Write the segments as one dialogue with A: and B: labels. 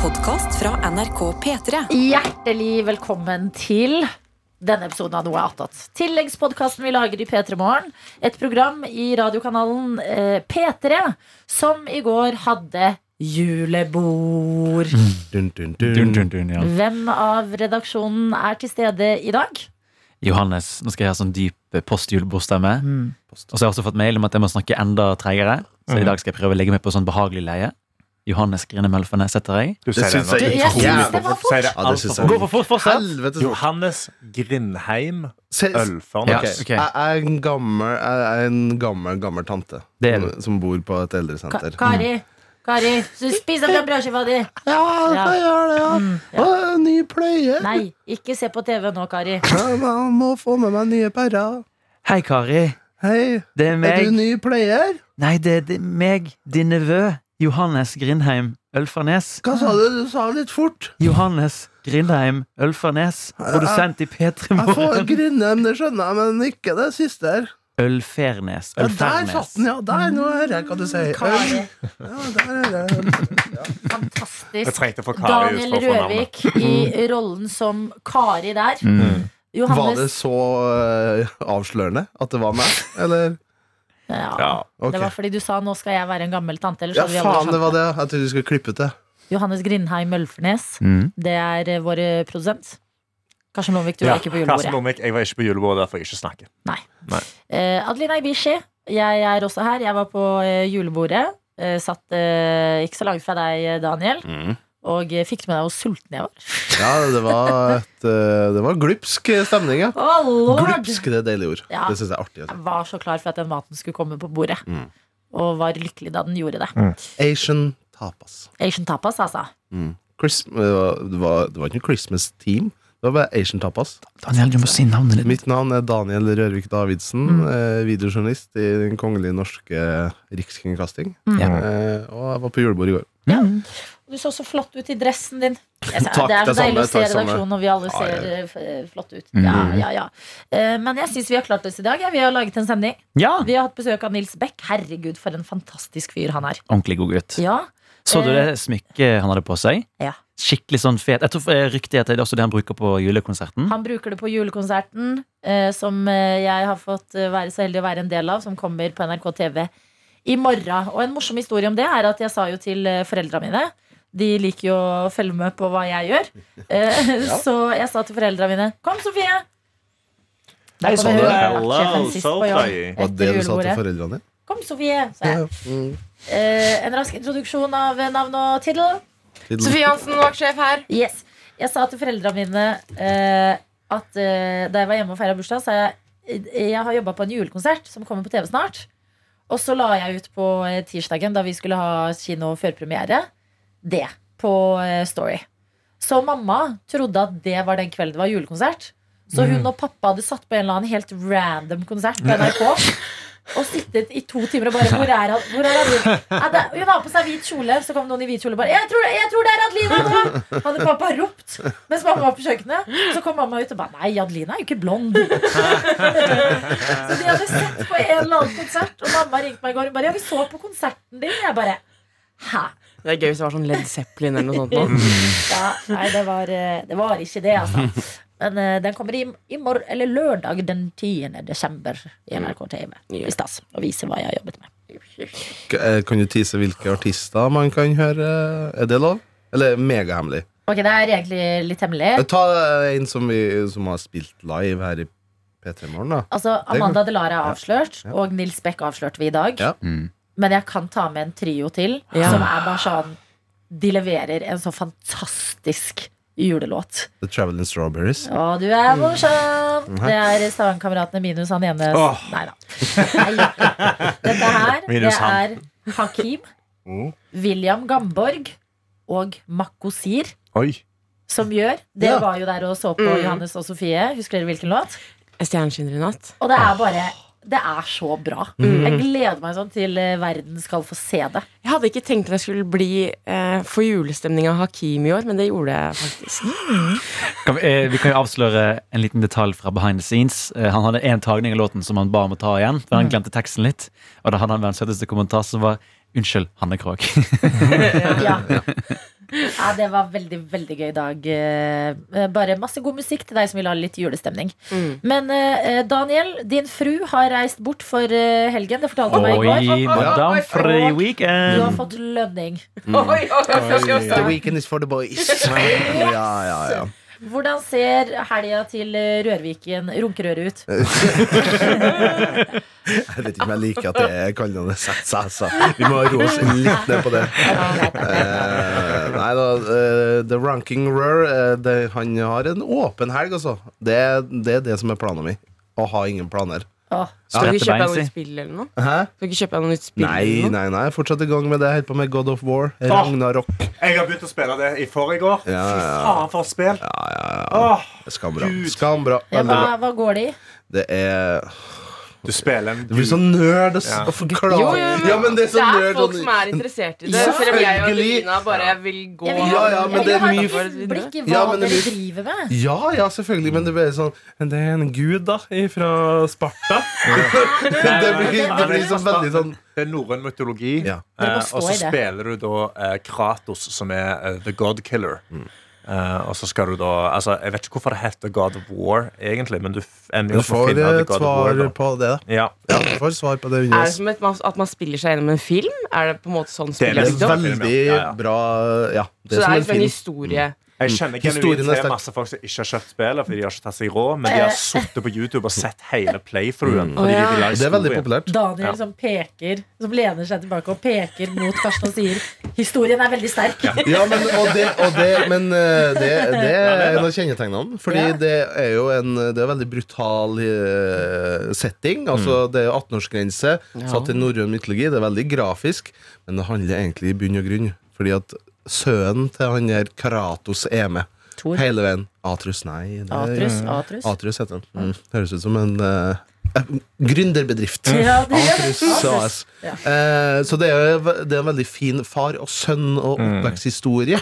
A: podkast fra NRK P3.
B: Hjertelig velkommen til denne episoden av Noe attåt. Tilleggspodkasten vi lager i P3 Morgen. Et program i radiokanalen eh, P3 som i går hadde julebord.
C: Dun, dun, dun.
D: Dun, dun, dun, ja.
B: Hvem av redaksjonen er til stede i dag?
D: Johannes, nå skal jeg ha sånn dyp postjulebordstemme. Og så har jeg også fått mail om at jeg må snakke enda treigere. Så
C: Mhm.
D: i dag skal jeg prøve å legge meg på sånn behagelig leie. Johannes Grine Melfene setter jeg.
E: Du sier det
C: syns jeg
E: nå.
B: Du,
C: er
B: jeg
C: jævla
B: synes det var
E: Du sier
B: fort.
E: det
C: Ja, det
E: alt
C: syns
E: for
C: jeg.
D: Gå for fort fortsatt!
C: Helvete så
E: Johannes Grindheim
C: Se-
E: Ølfond.
D: Ja,
C: Ok,
D: ok.
C: Jeg er en gammel, jeg er en gammel, gammel tante
D: Det er du.
C: som bor på et
B: Ka
C: eldresenter.
B: Kari, Kari, så spis opp den brødskiva di.
C: Ja, jeg gjør det, ja. Å, Ny pløye.
B: Nei, ikke se på TV nå, Kari.
C: Jeg må få med meg nye pærer.
D: Hei, Kari.
C: Hei,
D: Det er
C: er du
D: meg.
C: ny player?
D: Nei, det er di- meg, din nevø. Johannes Grindheim Ølfarnes.
C: Hva sa du? Du sa litt fort.
D: Johannes Grindheim Ølfarnes. Produsent i P3
C: Jeg får
D: Morgen.
C: Grindheim, det skjønner jeg, men ikke det siste her.
D: Ølfernes.
C: Ja, der satt
D: Ølfernes.
C: den, ja. Der, nå hører jeg hva du sier.
B: Kari,
C: Ja, der hører jeg.
E: Jeg
B: fantastisk.
E: trengte å få Kari ut
B: Daniel
E: for å få navnet.
B: Røvik i rollen som Kari der.
C: Var det
B: Johannes
C: så eh, avslørende at det var meg, eller?
B: ja.
E: Ja.
C: Ok.
B: Det var fordi du sa 'nå skal jeg være en gammel tante'. Eller så
C: Ja,
B: hadde vi aldri
C: faen,
B: skjønt
C: det var det. Jeg trodde du skulle klippe ut det.
B: det. Johannes Grindheim Mølfernes.
D: Mm.
B: Det er eh, vår produsent. Karsten Lomvik, du
E: Ja,
B: var ikke på
E: Karsten
B: julebordet.
E: Lomvik, jeg var ikke på julebordet, derfor jeg ikke snakker.
B: Eh, Adelina Ibishi, jeg er også her. Jeg var på eh, julebordet. Eh, satt eh, ikke så langt fra deg, eh, Daniel.
C: Mm.
B: Og eh, fikk med deg hvor sulten jeg var.
C: Ja, det var, et, eh, det var glupsk stemning, ja.
B: Å, lord!
C: Glupsk, det er et deilig ord.
B: Ja.
C: Det syns jeg er artig. altså. å si.
B: Jeg var så klar for at den maten skulle komme på bordet.
C: Mm.
B: Og var lykkelig da den gjorde det.
C: Asian tapas.
B: Asian tapas, altså.
C: Chris, eh, det, var, det, var, det var ikke noe Christmas team. Det var bare Asian tapas.
D: Daniel, du må si navnet ditt.
C: Mitt navn er Daniel Rørvik Davidsen.
B: Mm.
C: Eh, videojournalist i Den kongelige norske rikskringkasting.
B: Mm.
D: Ja.
C: Eh, og jeg var på julebord i går.
B: Ja. Du så så flott ut i dressen din. Jeg sa,
C: Takk,
B: det er så
C: det samme,
B: deilig å se
C: takk, samme.
B: redaksjonen, og vi alle
C: Ja,
B: ser
C: ja. Mm.
B: eh, f- eh, flott ut. Ja, ja, ja. Eh, Men jeg syns vi har klart oss i dag. Ja. Vi har laget en sending.
D: Ja!
B: Vi har hatt besøk av Nils Beck. Herregud, for en fantastisk fyr han er.
D: Ordentlig god gutt.
B: Ja,
D: Så du det smykket han hadde på seg?
B: Ja.
D: Skikkelig sånn fet. Jeg tror eh, ryktet er at det er også det han bruker på julekonserten.
B: Han bruker det på julekonserten, eh, som eh, jeg har fått eh, være så heldig å være en del av, som kommer på NRK TV i morgen. Og en morsom historie om det er at jeg sa jo til eh, foreldra mine De liker jo å følge med på hva jeg gjør. Eh, Så jeg sa til foreldra mine Kom, Sofie! Der
C: Hei,
B: kom
C: sa du
B: hun,
C: det?
B: vaktsjefen sist på jobb
E: Sofie.
C: Var det
B: etter
C: du sa til
B: julebordet.
C: foreldrene dine?
B: Kom, Sofie! sa jeg.
C: Ja, mm.
B: Eh, En rask introduksjon av eh, navn og tittel.
C: Til-
F: Sofie Hansen, vaktsjef her.
B: Yes. Jeg sa til foreldrene mine eh, at eh, da jeg var hjemme og feira bursdag, sa jeg jeg har jobba på en julekonsert som kommer på TV snart. Og så la jeg ut på eh, tirsdagen, da vi skulle ha kino førpremiere, det på eh, Story. Så mamma trodde at det var den kvelden det var julekonsert. Så hun og pappa hadde satt på en eller annen helt random konsert på NRK. Og sittet i to timer og bare Hvor er han? Hvor er Adelina? Ja, det, hun har på seg hvit kjole, så kom noen i hvit kjole og bare jeg tror, 'Jeg tror det er Adelina nå!' Hadde pappa ropt mens mamma var på kjøkkenet. Så kom mamma ut og bare 'Nei, Adelina er jo ikke blond'. så de hadde sett på en eller annen konsert, og mamma ringte meg i går og bare 'Ja, vi så på konserten din'. Jeg bare Hæ?
F: Det er gøy hvis det var sånn Led Zeppelin eller noe sånt. Nå.
C: Mm.
B: Ja, nei, det var, eh, det var ikke det, altså. Men eh, den kommer i, i morgen, eller lørdag den 10. desember i NRK TV. I stas. Og viser hva jeg har jobbet med.
C: K- eh, Kan du tise hvilke artister man kan høre? Er det lov? Eller megahemmelig?
B: Ok, det er egentlig litt hemmelig.
C: Eh, Ta eh, en som, vi, som har spilt live her i P3 Morgen, da.
B: Altså,
C: kan-
B: Amanda Delara er avslørt,
C: Ja.
B: og Nils Beck avslørte vi i dag.
C: Ja.
B: Men jeg kan ta med en trio til,
F: Ja.
B: som er bare sånn De leverer en så fantastisk julelåt.
C: The Traveling Strawberries.
B: Å, du er morsom! Det er Stavangerkameratene minus han ene
E: Åh.
B: Nei da. Nei. Dette her, det
E: Minus
B: er
E: han.
B: Hakim,
E: Mm.
B: William Gamborg og Makosir
E: Oi.
B: som gjør. Det
C: Ja.
B: var jo der og så på
F: Mm.
B: Johannes og Sofie. Husker dere hvilken låt?
F: Stjerneskinner i natt.
B: Og det er bare Det er så bra.
F: Mm.
B: Jeg gleder meg sånn til eh, verden skal få se det.
F: Jeg hadde ikke tenkt at jeg skulle bli eh, for julestemning av Hakim i år, men det gjorde jeg faktisk.
D: Kan vi, eh, vi kan jo avsløre en liten detalj fra behind the scenes. Eh, han hadde én tagning av låten som han ba om å ta igjen, for han glemte teksten litt. Og da hadde han verdens søteste kommentar som var 'Unnskyld, Hanne Krogh'.
B: Ja. Ja, det var veldig, veldig gøy dag. Eh, Bare masse god musikk til deg som vil ha litt julestemning.
F: Mm.
B: Men eh, Daniel, din fru har reist bort for eh, helgen. Det
D: Oh
B: fortalte du meg i går.
D: Oi, madame, for ei
B: Du har
D: weekend!
B: fått lønning.
C: The weekend is for the boys. Ja, ja, ja.
B: Hvordan ser helga til eh, Rørviken, Runkerøret, ut?
C: Jeg vet ikke om jeg liker at det er kallende sats, altså. Vi må roe oss litt ned på det. Eh, nei da, eh, The Ranking Rur, eh, det, han har en åpen helg, altså. Det, det er det som er planen min. Å ha ingen planer.
B: Åh,
F: Skal du
D: Rette
F: ikke kjøpe
D: bein,
F: deg noe
D: si.
F: nytt spill eller noe?
C: Hæ?
F: Skal du ikke kjøpe deg noe nytt spill?
C: Nei,
F: eller noe?
C: nei, nei. Jeg er Fortsatt i gang med det. Jeg holder på med God of War. Ragnarok.
E: Jeg har begynt å spille det i forrige
C: Ja,
E: Fy
C: ja,
E: faen, for et spill!
C: ja, ja, ja.
E: Åh,
C: Skambra.
E: Gud.
C: Skambra.
B: ja,
C: Veldig
B: hva,
C: bra.
B: hva går det i?
C: Det er
E: du spiller en
C: Det blir sånn nerd å s-
E: Ja.
C: å forklare.
F: Jo, jo, jo.
C: Ja, men det er
F: Det
C: sånn
F: er
C: nerd
F: folk
C: og-
F: som er interessert i det.
C: Ja,
F: Selv om jeg
C: selvfølgelig.
F: og Adelina bare vil gå
B: Jeg vil
C: Ja, ja, men
B: jeg
C: det
B: vil
C: er
B: ha
C: mye-
B: et innblikk i hva
C: Ja, men det
B: dere
C: er mye-
B: driver med.
C: Ja, ja, selvfølgelig, men det blir sånn Det er en gud, da, fra Sparta. det blir, det blir sånn veldig sånn
E: Det er norrøn mytologi,
C: Ja.
E: eh,
B: Dere må stå
E: og så
B: i det.
E: spiller du da eh, Kratos, som er eh, The God Killer.
C: Mm.
E: Eh, og så skal du da altså, Jeg vet ikke hvorfor det heter God of War, egentlig, men du f- ender
C: Du
E: opp med å
C: får
E: finne The
C: et
E: God of War.
C: svar
E: Da.
C: på det, da.
E: Ja.
C: Ja, du får svar på det
F: Er det
C: underveis.
F: som et, at man spiller seg gjennom en film? Er det på en måte sånn
E: er
F: spillet
C: Det
F: er
C: er liksom
F: bygd opp?
E: Ja, ja.
C: veldig bra Ja,
F: Så
C: det
F: det
C: er som
F: er
C: en
F: liksom en
C: film. Mm.
F: historie.
E: Jeg kjenner
C: Historien
E: genuint
C: er
E: til
C: sterk.
E: masse folk som ikke har kjøpt spillet fordi de har ikke tatt seg råd, men de har
B: Eh.
E: sittet på YouTube og sett hele playthroughen.
F: Å,
E: Fordi de
F: ja.
E: vil ha
C: Mm. Det er veldig
E: historien.
C: populært.
B: Daniel
E: Ja.
B: som peker, som lener seg tilbake og peker mot Karsten og sier 'historien er veldig sterk'.
C: Ja, men, og det, og det, men eh, det, det er en av kjennetegnene. Fordi
B: Ja.
C: det er jo en Det er veldig brutal eh, setting. Altså,
B: Mm.
C: Det er jo 18-årsgrense, satt i norrøn mytologi. Det er veldig grafisk, men det handler egentlig i bunn og grunn. Fordi at sønnen til han der Kratos er med.
B: Thor.
C: Hele veien. Atrus, nei. Det,
B: Atrus, Atrus.
C: Atrus heter han. Mm. Høres ut som en eh, eh, gründerbedrift.
B: Ja, det gjør
C: Atrus
B: det.
C: AS.
B: Ja.
C: Eh, så det er, jo ve- det er en veldig fin far og sønn og oppveksthistorie.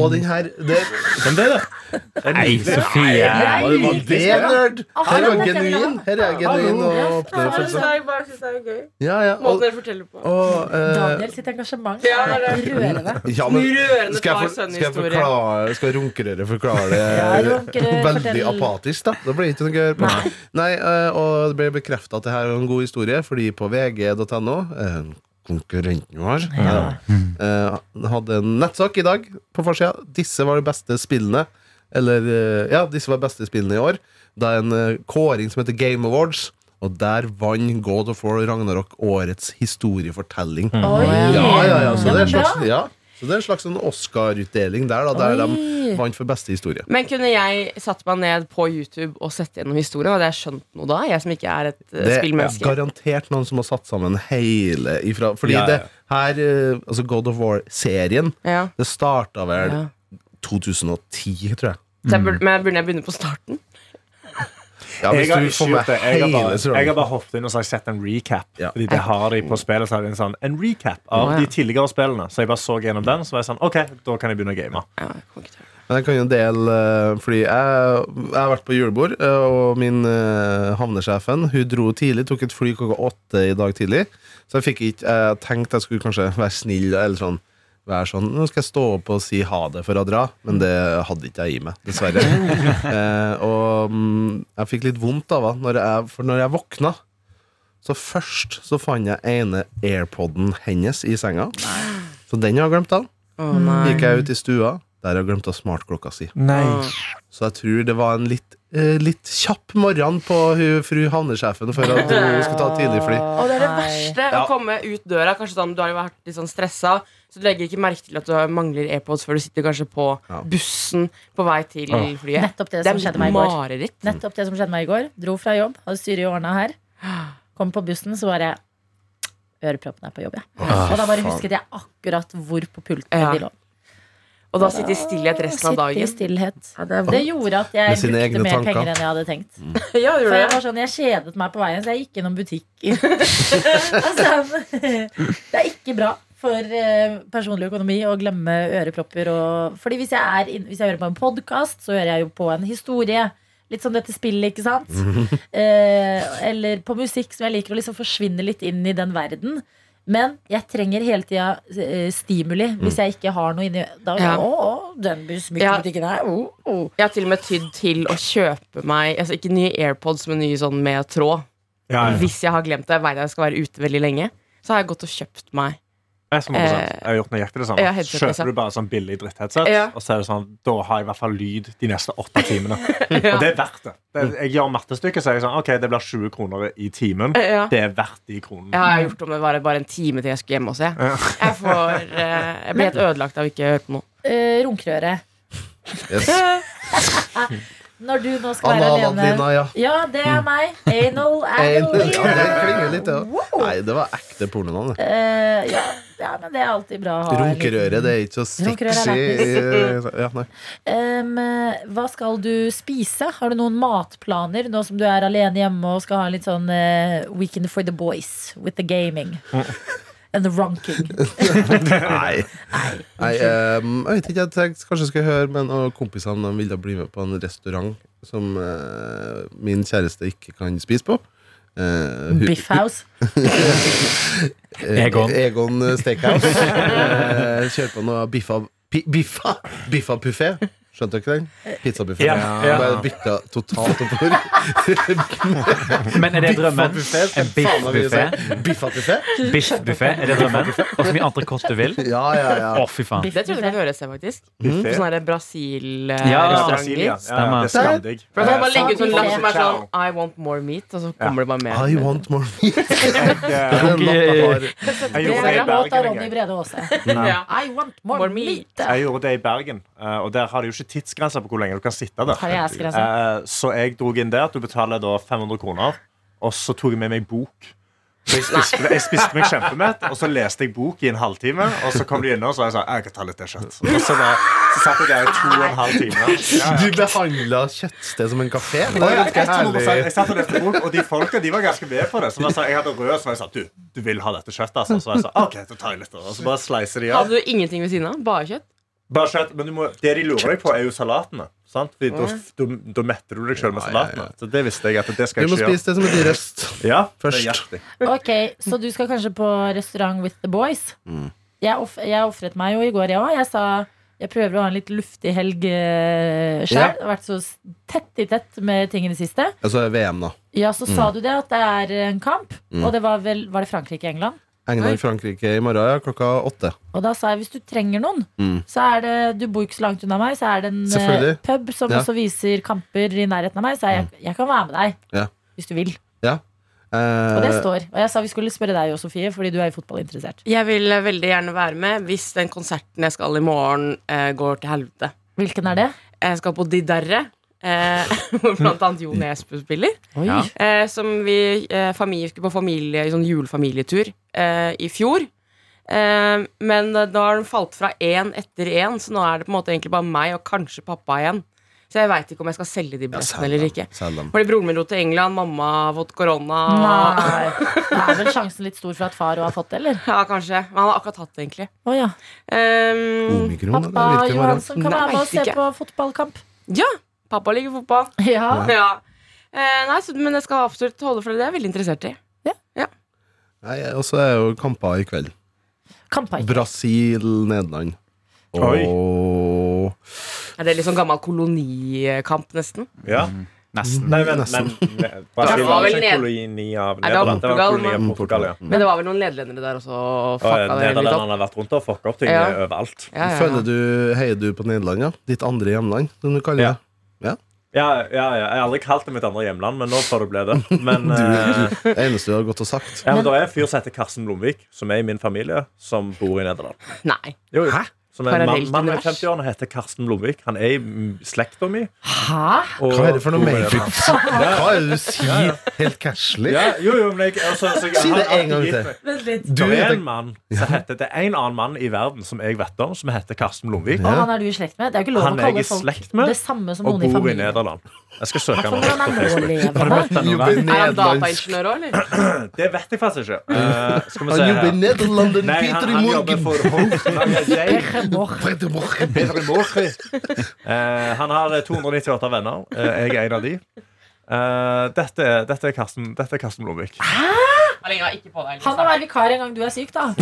C: Og den her det,
E: Men det Mm. er det. Det er
D: Nei,
E: nydelig.
D: Sofie!
B: Nei,
C: Oi, var det er nerd! Her
B: Ah, Hallo,
C: er
B: dette vil jeg
C: genuin.
B: ha.
C: Her er sånn. genuin og åpner
F: Jeg
C: følelser.
F: bare synes det er gøy.
C: Ja, ja.
F: Måten
C: Og,
F: dere forteller på.
C: og, eh,
B: Daniel sitt engasjement
F: Ja,
B: er
F: det er
B: rørende.
C: ja, men skal jeg,
F: Rørende
C: for, skal jeg
F: far-sønn-historie.
C: forklare Skal runkerøret forklare
B: Ja,
C: det
B: Runkerøret,
C: veldig
B: fortell.
C: apatisk, da? Da blir det ikke noe gøy å høre på. Nei, eh, og det ble bekrefta at det her er en god historie, fordi på vg.no eh, Konkurrenten vår eh, eh, hadde en nettsak i dag på forsida. Disse var de beste spillene. Eller eh, Ja, disse var de beste spillene i år. Det er en eh, kåring som heter Game Awards. Og der vant God of War Ragnarok årets historiefortelling.
B: Oi.
C: Ja, ja, ja,
B: Ja,
C: så det er
B: men
C: en
B: bra.
C: slags, ja. Så det er en slags sånn Oscar-utdeling der, da, der de vant for beste historie.
F: Men kunne jeg satt meg ned på YouTube og sett gjennom historien? Hadde jeg skjønt noe da? Jeg som ikke er et eh,
C: Det er
F: spillmenneske.
C: garantert noen som har satt sammen hele ifra Fordi
E: Ja, ja.
C: det her, eh, altså God of War-serien,
F: Ja.
C: det starta vel
F: Ja.
C: 2010, tror jeg.
F: Så jeg burde, men burde jeg begynne på starten?
C: Ja,
E: Jeg
C: hvis
E: har
C: du
E: ikke
C: får med
E: gjort det. Jeg har bare,
C: hele så
E: jeg har bare hoppet inn og så har jeg sett en recap.
C: Ja.
E: Fordi det har de på spillet. Så har de en, sånn, en recap av
F: Å, ja.
E: de tidligere spillene. Så jeg bare så gjennom den, så var jeg sånn OK, da kan jeg begynne å game.
F: Ja, jeg kommer ikke til å gjøre det.
C: Men jeg kan jo dele eh, Fordi jeg, jeg har vært på julebord, eh, og min eh, havnesjefen Hun dro tidlig, tok et fly klokka åtte i dag tidlig. Så jeg fikk ikke Jeg tenkte jeg skulle kanskje være snill eller sånn. Være sånn, Nå skal jeg stå opp og si ha det for å dra, men det hadde ikke jeg i meg, dessverre. eh, og mm, jeg fikk litt vondt av det, når jeg- for når jeg våkna Så først så fant jeg ene airpoden hennes i senga. Så den har jeg glemt av.
F: Å nei.
C: Gikk jeg ut i stua, der har jeg glemt av smartklokka si. Så jeg tror det var en litt, eh, litt kjapp morgen på hu, fru havnesjefen for at hun skulle ta tidligfly.
F: Og det er det
B: Nei.
F: verste. Å
C: Ja.
F: komme ut døra. Kanskje sånn, Du har jo vært litt sånn stressa, så du legger ikke merke til at du har- mangler AirPods før du sitter kanskje på
C: Ja.
F: bussen på vei til flyet.
B: Nettopp det som
F: Det
B: skjedde
F: er
B: meg i går.
F: mareritt.
B: Nettopp det som skjedde meg i går. Dro fra jobb, hadde styret i årene her. Kom på bussen, så var jeg Øreproppene er på jobb, ja. Og da bare husket jeg akkurat hvor på pulten
F: Ja.
B: de lå.
F: Og da sitte i stillhet resten av
B: Sitte i
F: dagen.
B: stillhet. Det gjorde at jeg
C: Med sine
B: brukte
C: egne
B: mer
C: tanker.
B: penger enn jeg hadde tenkt.
F: Ja,
B: For jeg
F: gjorde det.
B: var sånn, jeg kjedet meg på veien, så jeg gikk innom butikker. altså, det er ikke bra for eh, personlig økonomi å glemme ørepropper. Og, fordi hvis jeg, er inn, hvis jeg hører på en podkast, så hører jeg jo på en historie. Litt som dette spillet, ikke sant? Eh, eller på musikk som jeg liker å liksom forsvinne litt inn i den verden. Men jeg trenger hele tida eh, stimuli hvis jeg ikke har noe inni da,
F: Mm. Ja.
B: Å, å, den smykkebutikken her. oh. Å, å.
F: Jeg har til og med tydd til å kjøpe meg Altså ikke nye AirPods, men nye sånn med tråd.
E: Ja, ja.
F: Hvis jeg har glemt det, hver dag jeg skal være ute veldig lenge, så har jeg gått og kjøpt meg
E: Jeg, er 100%. jeg har gjort nøyaktig det samme.
F: Eh, Ja, headset,
E: Kjøper
F: liksom.
E: du bare sånn billig drittheadset,
F: Ja.
E: og så er det sånn, da har jeg i hvert fall lyd de neste åtte timene. Og det er verdt det. det er, jeg gjør mattestykket, så er jeg sånn, ok, det blir 20 kroner i timen.
F: Ja.
E: Det er verdt de kronene.
F: Jeg har gjort om det var bare en time til jeg skulle hjem også. Jeg, jeg, får, eh, jeg blir helt ødelagt av ikke å høre på noe.
B: Eh, Runkerøre.
C: Yes.
B: Når du nå skal
C: Anna
B: være alene.
C: Valentina, ja.
B: Ja, det er meg. Anal
C: En, ja, det klinger
B: Analina.
C: litt, ja. Nei, det var ekte pornonavn. det.
B: Eh, ja, ja, men det er alltid bra å ha. en liten-
C: Runkerøre, det er ikke så
B: Runkerøre
C: sexy.
B: er
C: i- Ja, nei.
B: Em, eh, hva skal du spise? Har du noen matplaner nå som du er alene hjemme og skal ha litt sånn eh, weekend for the boys with the gaming? And the runking.
C: Nei. Nei, ehm, jeg vet ikke, jeg tenkte kanskje jeg skulle høre Men og kompisene de ville bli med på en restaurant Som eh, min kjæreste ikke kan spise på Eh, hu-
B: Biff House.
C: eh,
D: Egon.
C: Egon Steakhouse Eh, Kjør på noe biffa pi- Biffa Biffa buffet Skjønte dere den?
B: Eh,
C: Pizzabuffet
E: Ja, ja.
C: Bare bytta totalt oppover
D: Men er det drømmen? En
C: Faen, hva vil jeg si?
D: biffbuffé?
C: Biffa buffet
D: Biffbuffé, er det drømmen? Og så mye entrecôte du vil?
C: Ja, ja,
D: Å,
C: ja
D: fy faen.
F: Det trodde jeg kan høre et sted, faktisk. På
E: Buffet.
F: sånne
D: Ja,
E: Ja,
F: Brasil-restauranter.
E: Brasilia. Ja, ja, det er
C: Stemmer.
E: skamdigg.
F: For da kan man legge ut sånn
B: Sa
F: lapp som er
E: Ciao.
F: sånn I want more meat, og så kommer det bare mer.
C: I want more meat
E: Jeg, eh,
C: Den natta har
E: jeg
B: Det
E: gjorde
B: er
E: det i
B: en låt av
E: Bergen en
B: Ronny
E: gang.
B: Brede Aase.
F: Ja.
B: I want more,
F: More
B: meat.
F: meat.
E: Jeg gjorde det i Bergen, eh, og der har de jo ikke tidsgrenser på hvor lenge du kan sitte der.
B: Har jeg askegrense?
E: Eh, Så jeg drog inn der. Du betaler da 500 kroner. Og så tok jeg med meg bok. Så jeg spiste, jeg spiste meg kjempemett, og så leste jeg bok i en halvtime. Og så kom de inne og så var jeg sa jeg kan ta litt til kjøtt. Og så, da, så satt jeg der i to og en halv time. Ja, ja.
C: Du behandlet kjøttsted som en kafé Det
E: Og
C: er
E: jeg,
C: ganske herlig
E: jeg satt og leste bok, og de folka de var ganske med på det. Så da sa jeg- jeg hadde rød, så jeg sa du, du vil ha dette kjøttet. Altså. Så jeg sa OK, da tar jeg litt. av det." Og så bare sleiser de av.
F: Hadde du ingenting ved siden av? Bare kjøtt?
E: Bare skjønt, men du må, Det de lurer deg på, er jo salatene. Sant? Fordi Da da- da metter du deg sjøl med salatene. Så Det visste jeg at det skal
C: Du
E: jeg
C: må
E: ikke gjøre.
C: spise det som er dyrest
E: Ja,
C: Først.
E: det hjelper.
B: Ok, Så du skal kanskje på restaurant with the boys?
C: Mm.
B: Jeg, off jeg offret meg jo i går, jeg òg. Jeg sa jeg prøver å ha en litt luftig helg uh, sjøl.
C: Ja.
B: Har vært så s- tett i tett med ting i det siste.
C: Altså VM da
B: Ja, så sa
C: Mm.
B: du det at det er eh, en kamp, og det var vel Var det Frankrike-England?
C: England-Frankrike i morgen ja, klokka åtte.
B: Og da sa jeg hvis du trenger noen,
C: Mm.
B: så er det Du bor ikke så langt unna meg, så er det en eh,
C: Selvfølgelig.
B: pub som
C: Ja. Mm.
B: også viser kamper i nærheten av meg, så jeg, jeg kan være med deg.
C: Ja.
B: Hvis du vil.
C: Eh,
B: Og det står. Og jeg sa vi skulle spørre deg òg, Sofie, fordi du er jo fotballinteressert.
F: Jeg vil eh, veldig gjerne være med hvis den konserten jeg skal i morgen, eh, går til helvete.
B: Hvilken er det?
F: Jeg skal på Diderre, eh, hvor blant annet Jo Nesbø spiller.
B: Oi.
D: Ja.
F: Eh, som vi eh, familie, skulle på familie, sånn julefamilietur eh, i fjor. Eh, men eh, da har den falt fra én etter én, så nå er det på en måte egentlig bare meg og kanskje pappa igjen. Så jeg veit ikke om jeg skal selge de billettene eller ikke.
C: Selg dem.
F: Fordi broren min dro til England, mamma har fått korona. og-
B: Nei. Det er vel sjansen litt stor for at far òg har fått det, eller?
F: Ja, kanskje. Men han har akkurat hatt det, egentlig.
B: Å ja.
F: Eh,
C: Omikron, eller?
B: Mm. Pappa
C: Hvilken var det?
B: Johansen kan være med og
F: Nei,
B: se
F: ikke.
B: på fotballkamp.
F: ja, pappa liker fotball.
B: Ja.
F: Ja. Eh, nei, så, men jeg skal absolutt holde for det. Det er jeg veldig interessert i.
C: Nei, Og så er jo kamper i kveld.
B: Kamper.
C: Brasil-Nederland. Og
F: Er det litt sånn gammel kolonikamp, nesten?
E: Ja.
F: Mm.
D: Nesten.
E: Nei, men, men
C: Nesten.
E: Brasil var
F: Det
E: ikke
F: var vel
E: en
F: ned-
E: koloni av
F: Nei, det var
E: Nederland. Det var en
F: Portugal,
E: koloni av
C: men-
E: Portugal, ja.
F: Men det var vel noen nederlendere der også? og
E: Og eh,
F: fucka det hele
E: Nederland
F: tatt.
E: har vært rundt og fucka opp ting
F: Ja.
E: eh, overalt.
F: Ja, ja,
C: Føler
F: ja.
C: du, Heier du på Nederland, ja? Ditt andre hjemland, som du kaller
E: Ja.
C: det?
E: Ja, ja, ja. Jeg har aldri kalt det mitt andre hjemland, men nå får det bli det. Men,
C: Du,
E: eh,
C: du, det eneste du har gått og sagt.
E: ja, men det er en fyr som heter Karsten Blomvik, som er i min familie, som bor i Nederland.
F: Nei.
E: Jo, jo. Som er en mann
F: Parallelt
E: mann i
F: univers.
E: 50-årene heter Karsten Blomvik. Han er i mm, slekta mi.
B: Hæ?
E: og-
C: Hva er det for noe
E: bor i
C: mer?
E: Nederland.
C: Hva er det du sier? Helt casually?
E: Ja, jo, jo, men jeg, altså, så jeg
C: Si
E: har
C: det en
E: alltid
C: gang
E: gitt
C: til.
E: meg-
B: Vent litt.
C: Du
E: det er
C: heter
E: en mann som heter, Det er en annen mann i verden som jeg vet om, som heter Karsten Blomvik.
B: Og han er du i slekt med? Det er jo ikke lov
E: Han
B: å
E: er jeg i
B: kalle folk
E: slekt med,
B: det samme som
E: og
B: noen i
E: bor i
B: familien.
E: Nederland. Jeg skal søke han
B: Hvorfor
E: opp
B: han
E: på
B: er
E: Facebook.
B: nålevende?
C: Han jobber i
F: Er han
C: Nederland.
F: dataingeniør òg, eller?
E: Det vet jeg faktisk ikke. Eh, skal vi
C: Han
E: se
C: jobber i
E: her.
C: Nederland,
E: Nei, han,
C: Peter i
E: han jobber
C: morgen.
E: for Hovedstadsmuseet.
B: Kremor.
C: Peter i morgen.
E: Peter i Morgen. Eh, han har eh, 298 venner. Eh, jeg er en av de. Eh, dette, er- dette er Karsten, dette er Karsten Blomvik.
F: Alenga, ikke på deg. liksom.
B: Han må være vikar en gang du er syk, da.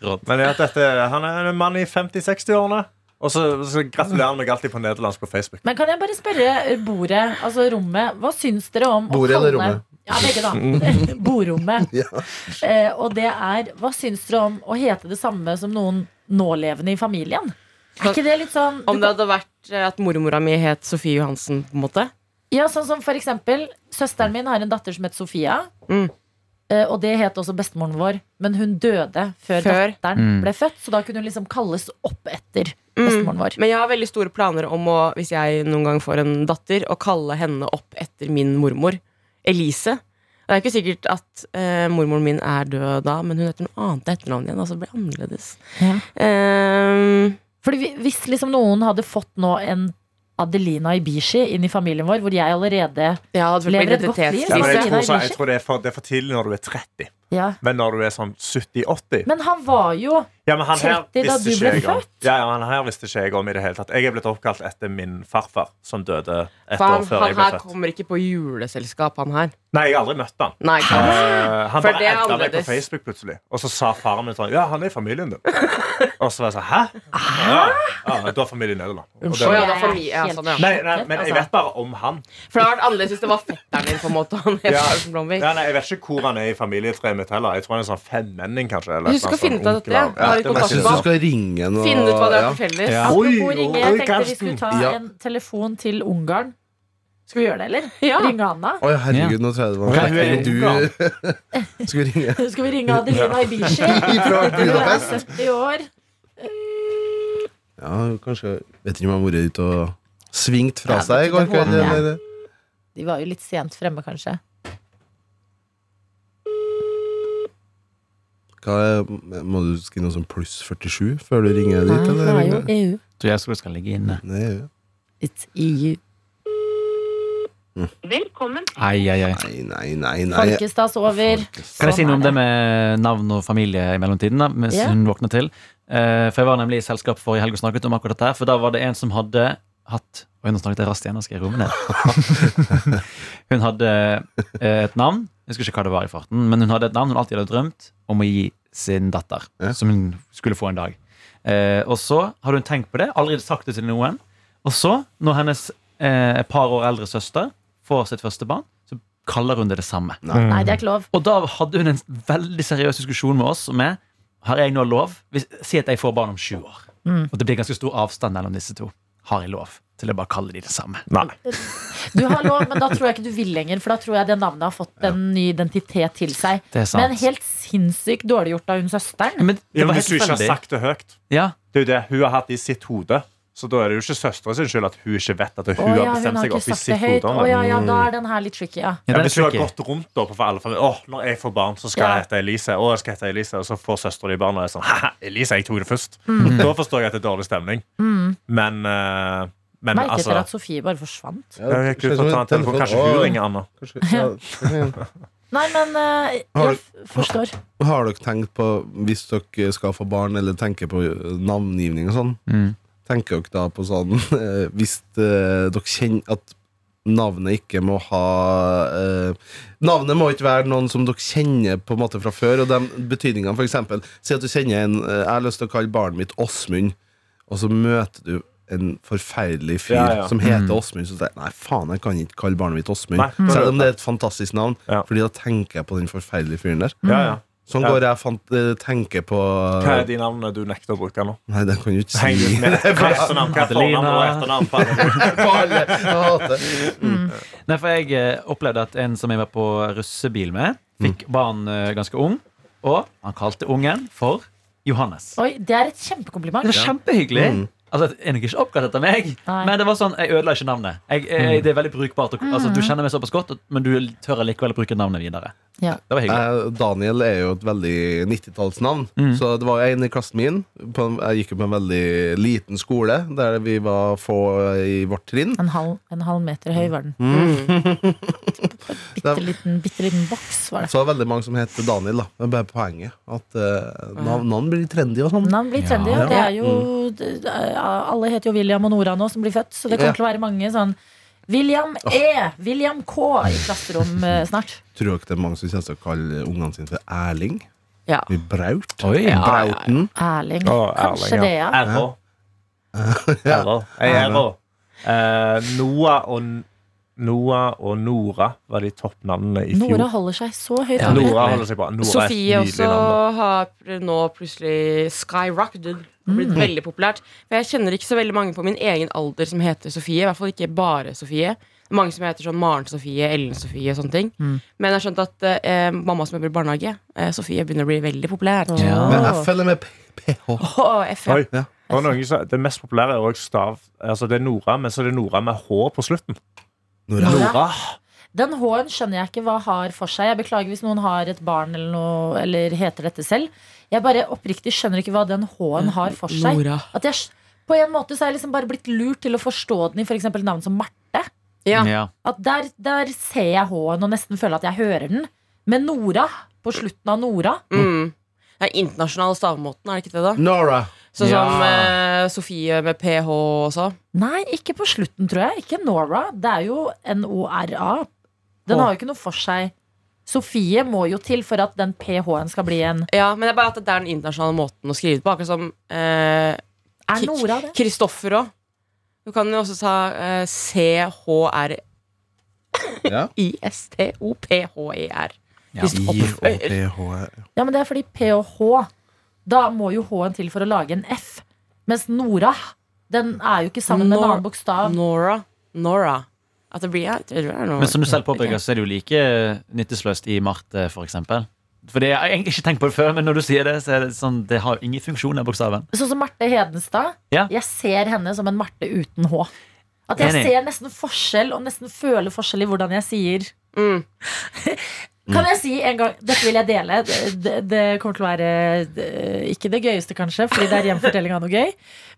D: Rått.
E: Men det at dette, han er en mann i 50-60-årene. Og så, så gratulerer han meg alltid på nederlandsk på Facebook.
B: Men kan jeg bare spørre bordet, altså rommet, hva syns dere om å
C: Bordet eller
B: kalle-
C: rommet? Mm.
B: Ja, begge da. Bordrommet.
C: Ja.
B: Eh, og det er Hva syns dere om å hete det samme som noen nålevende i familien? Er ikke det litt sånn du
F: Om det hadde vært eh, at mormora mi het Sofie Johansen, på en måte.
B: Ja, sånn som for eksempel Søsteren min har en datter som heter Sofia
F: Mm.
B: Eh, Og det het også bestemoren vår Men hun døde før,
F: Før.
B: datteren
D: Mm.
B: ble født Så da kunne hun liksom kalles opp etter
F: Mm.
B: bestemoren vår
F: Men jeg har veldig store planer om å, hvis jeg noen gang får en datter, å kalle henne opp etter min mormor, Elise. Det er ikke sikkert at eh, mormoren min er død da, men hun heter noe annet etternavn igjen. Altså det blir annerledes.
B: Ja.
F: Ehm,
B: Fordi vi- hvis liksom noen hadde fått nå en Adelina Ibishi inn i familien vår Hvor jeg allerede
F: ja, det hadde
B: Lever
F: vært
B: et godt liv,
E: Ja, men
F: identitetskrise.
B: Lise.
E: jeg, tror så, jeg
B: Ikke?
E: tror det er for, det er for tidlig når du er 30. Men når du er sånn 70-80
B: Men han var jo
E: ja, men han her
B: 30 da
E: visste
B: du ble
E: ikke jeg om.
B: født?
E: Ja, ja, han her visste ikke jeg om i det hele tatt. Jeg er blitt oppkalt etter min farfar, som døde et
F: For han,
E: år før jeg
F: han
E: ble
F: her
E: født.
F: kommer ikke på juleselskap, han her.
E: Nei, jeg har aldri møtt han.
F: Nei, ikke sant?
E: Eh, han
F: For
E: bare
F: det er
E: edda meg på
F: annerledes.
E: Facebook plutselig. Og så sa faren min sånn Ja, han er i familien din. Og så var jeg sånn Hæ? Ja, ja, du har familie i Nederland. Og det
F: Å
E: var-
F: ja, det er familie. Ja,
B: Helt Altså,
F: sånn, ja.
E: Nei, nei, men jeg vet bare om han.
F: For det hadde vært annerledes hvis det var fetteren din, på en måte. Han het
E: Ja.
F: Carlsen Blomvik.
E: Ja, nei, jeg vet ikke hvor han er i familietreet mitt heller. Jeg tror han er sånn femmenning, kanskje. Eller
F: Du skal
E: et eller
F: finne ut av
E: annet
F: dette, ja.
E: sånn onkel av-
F: Har vi
E: det må
C: Jeg
E: jeg
F: kontakt
C: syns du
E: finne ut av.
C: skal ringe noen
F: Finne ut hva det er
C: ja.
F: for felles.
D: Ja.
B: Apropos ringe, jeg tenkte vi
E: Karsten.
B: skulle ta
C: Ja.
B: en telefon til Ungarn Skal vi gjøre det, eller?
F: Ja.
B: Ringe Anna
C: Oi, herregud, nå tror jeg det var
E: Ja, hun er
C: Eller du Skal vi ringe
B: Skal vi ringe Adelina Ibishi?
C: Ifra
B: Hun er
C: Budapest?
B: 70 år.
C: Ja, kanskje Vet ikke om jeg har vært ute og svingt fra seg i går kveld, eller
B: De var jo litt sent fremme, kanskje.
C: hva er, Må du skrive noe sånn pluss 47 før du ringer dit,
B: Nei,
C: eller?
B: det er jo EU.
D: Tror jeg skal, eh. du skal ligge inne.
C: Nei, ja.
B: It's E EU.
D: Ai, ai, ai.
C: nei, nei, nei, nei.
B: Folkestads over.
D: Kan jeg si
B: Sånn
D: noe om
B: er
D: det med navn og familie i mellomtiden? da, mens
B: Ja.
D: hun våkner til? Eh, for Jeg var nemlig i selskap forrige helg og snakket om akkurat dette. her, For da var det en som hadde hatt Oi, nå snakket jeg raskt igjen. Nå skal jeg roe meg ned. hun hadde eh, et navn. Jeg husker ikke hva det var i farten, men hun hadde et navn hun alltid hadde drømt om å gi sin datter.
C: Ja.
D: Som hun skulle få en dag. Eh, og så hadde hun tenkt på det, aldri sagt det til noen. Og så, når hennes eh, et par år eldre søster får sitt første barn, så kaller hun det det samme.
B: Nei, det er ikke lov.
D: Og da hadde hun en veldig seriøs diskusjon med oss om jeg har jeg nå lov. Hvis, si at jeg får barn om sju år.
E: Mm.
D: Og det blir ganske stor avstand mellom disse to. Har jeg lov til å bare kalle de det samme?
E: Nei.
B: Du har lov, men da tror jeg ikke du vil lenger, for da tror jeg det navnet har fått en ny identitet til seg.
D: Det er sant.
B: Men helt sinnssykt dårlig gjort av hun søsteren.
D: Men
E: Ja,
D: det
E: men
D: var helt
E: hvis du ikke har
D: tilfeldig.
E: sagt det høyt.
D: Ja,
E: Det er jo det hun har hatt i sitt hode. Så da er det jo ikke søstera sin skyld at hun ikke vet at hun
B: Å ja,
E: har
B: hun
E: bestemt
B: har
E: seg
B: ikke
E: opp i
B: sagt det
E: sitt
B: høyt.
E: hode.
B: Å
E: om det.
B: ja, ja,
E: Mm.
B: da er den her litt tricky, ja.
D: ja,
E: Ja,
D: det
E: hvis hun
D: er
E: har
D: tricky.
E: gått rundt da på for alle familier Åh, når jeg får barn, så skal
B: Ja.
E: jeg hete Elise. Åh, jeg skal hete Elise Og så får søstera di barn og er sånn Haha, Elise, jeg tok det først.
B: Mm.
E: Da forstår jeg at det er dårlig stemning. Men, eh, men
B: Merket
E: altså
B: dere at Sofie bare forsvant?
C: Ja,
E: Ja, jeg kunne fått ta en telefon. Kanskje hun ringer Anna.
C: Kanskje, ja.
B: Nei, men eh,
C: Har-
B: jeg f- forstår.
C: Har dere tenkt på, hvis dere skal få barn, eller tenker på navngivning og sånn,
D: Mm.
C: tenker dere da på sånn eh, Hvis eh, dere kjenner at navnet ikke må ha eh, Navnet må ikke være noen som dere kjenner på en måte fra før, og de betydningene, for eksempel Si at du kjenner en eh, Jeg har lyst til å kalle barnet mitt Åsmund, og så møter du en forferdelig fyr
E: Ja, ja.
C: som heter Åsmund, som sier Nei, faen, jeg kan ikke kalle barnet mitt Åsmund.
E: Nei, da er
C: Selv
E: det-
C: om det er et fantastisk navn,
E: Ja.
C: Fordi da tenker jeg på den forferdelige fyren der.
B: Mm.
E: Ja, ja.
C: Sånn
E: Ja.
C: går jeg fant, eh, tenker på
E: Hva er de navnene du nekter å bruke nå?
C: Nei, det kan du ikke
E: Heng
C: si.
E: ut med etternavn. Hva er fornavn og
D: Adelina.
E: etternavn? på alle?
C: På alle. Jeg hater det.
D: Nei, for jeg eh, opplevde at en som jeg var på russebil med,
E: Mm.
D: fikk barn eh, ganske ung. Og han kalte ungen for Johannes.
B: Oi, det er et
D: Det
B: kjempekompliment.
D: var kjempehyggelig.
C: Mm.
D: Altså, jeg er nok ikke oppkalt etter meg,
B: Nei.
D: men det var sånn, jeg ødela ikke navnet. Jeg, jeg,
E: Mm.
D: det er veldig brukbart. å- Altså, du kjenner meg såpass godt, men du tør likevel å bruke navnet videre.
B: Ja.
D: Det var hyggelig.
C: Jeg- Eh, Daniel er jo et veldig 90-tallsnavn.
E: Mm.
C: Så det var en i klassen min. På en, jeg gikk jo på en veldig liten skole der vi var få i vårt trinn.
B: En halv, en halv meter høy var den.
C: Mm.
B: Mm. Bitte liten, bitte liten boks var det.
C: Så var det veldig mange som het Daniel. da Det er bare poenget. At eh, nav navn blir trendy og sånn.
B: Navn blir trendy,
D: Ja.
B: og
E: Mm.
B: eh, det er jo det- det er- Alle heter jo William og Nora nå som blir født, så det kommer
C: Ja.
B: til å være mange sånn William E. William K. i klasserom eh, snart.
C: Tror dere det er mange som kommer til å kalle ungene sine for Erling?
F: Ja.
C: Vi braut.
D: Oi.
C: Brauten.
B: Erling.
E: Å,
B: Kanskje
E: Erling, ja.
B: det,
D: Eh,
B: ja.
E: RH. RH. Jeg er RH. Eh, Noah og Noah og Nora var de toppnavnene i fjor.
B: Nora holder seg så høyt
D: Ja,
B: oppe.
E: Nora holder seg bra. Nora er et nydelig
F: Sofie også
E: navn, da.
F: har pr- nå plutselig skyrocketed. Det har Blitt
E: Mm.
F: veldig populært. For jeg kjenner ikke så veldig mange på min egen alder som heter Sofie. I hvert fall ikke bare Sofie. Mange som heter sånn Maren Sofie, Ellen Sofie og sånne ting.
E: Mm.
F: Men jeg har skjønt at eh, mamma som jobber i barnehage, eh, Sofie, begynner å bli veldig populær.
B: Åh.
D: Ja.
C: Men jeg følger med P- PH.
F: Åh, F, ja.
E: Oi. Og noen som, det mest populære er også stav. Altså, det er Nora, men så er det Nora med H på slutten.
C: Nora.
B: Nora.
E: Nora.
B: Den H-en skjønner jeg ikke hva har for seg. Jeg Beklager hvis noen har et barn eller noe Eller heter dette selv. Jeg bare oppriktig skjønner ikke hva den H-en har for seg.
F: Nora.
B: At jeg, på en måte så er jeg liksom bare blitt lurt til å forstå den i f.eks. navn som Marte.
F: Ja.
D: Ja.
B: At der, der ser jeg H-en og nesten føler at jeg hører den. Men Nora, på slutten av Nora
F: Mm. Det er internasjonale stavmåten, er det ikke det, da?
C: Nora.
F: Sånn
D: Ja.
F: som eh, Sofie med ph også.
B: Nei, ikke på slutten, tror jeg. Ikke Nora. Det er jo N-O-R-A. Den
E: Å.
B: har jo ikke noe for seg. Sofie må jo til for at den PH-en skal bli en
F: Ja, men det er bare at det er den internasjonale måten å skrive det på. Akkurat som eh,
B: Er Nora det?
F: Kristoffer òg. Du kan jo også ta eh,
C: Ja.
F: C-H-R-I-S-T-O-P-H-E-R.
D: Ja.
F: Kristoffer.
C: PH.
B: Ja, men det er fordi P og H Da må jo H-en til for å lage en F Mens Nora Den er jo ikke sammen med en
F: Nor-
B: annen bokstav
F: Nora. Nora. At det blir jeg tror det er Nora.
D: Men som du selv påpeker, så er det jo like nyttesløst i Marte, for eksempel. For det, jeg har egentlig ikke tenkt på det før, men når du sier det, så er det sånn, det har jo ingen funksjon, den bokstaven.
B: Sånn som Marte Hedenstad
D: Ja.
B: Jeg ser henne som en Marte uten H At jeg
D: Enig.
B: ser nesten forskjell Og nesten føler forskjell i hvordan jeg sier
F: Mm.
C: Mm.
B: Kan jeg si en gang Dette vil jeg dele Det, det, det kommer til å være eh, Ikke det gøyeste kanskje Fordi det er hjemfortelling av noe gøy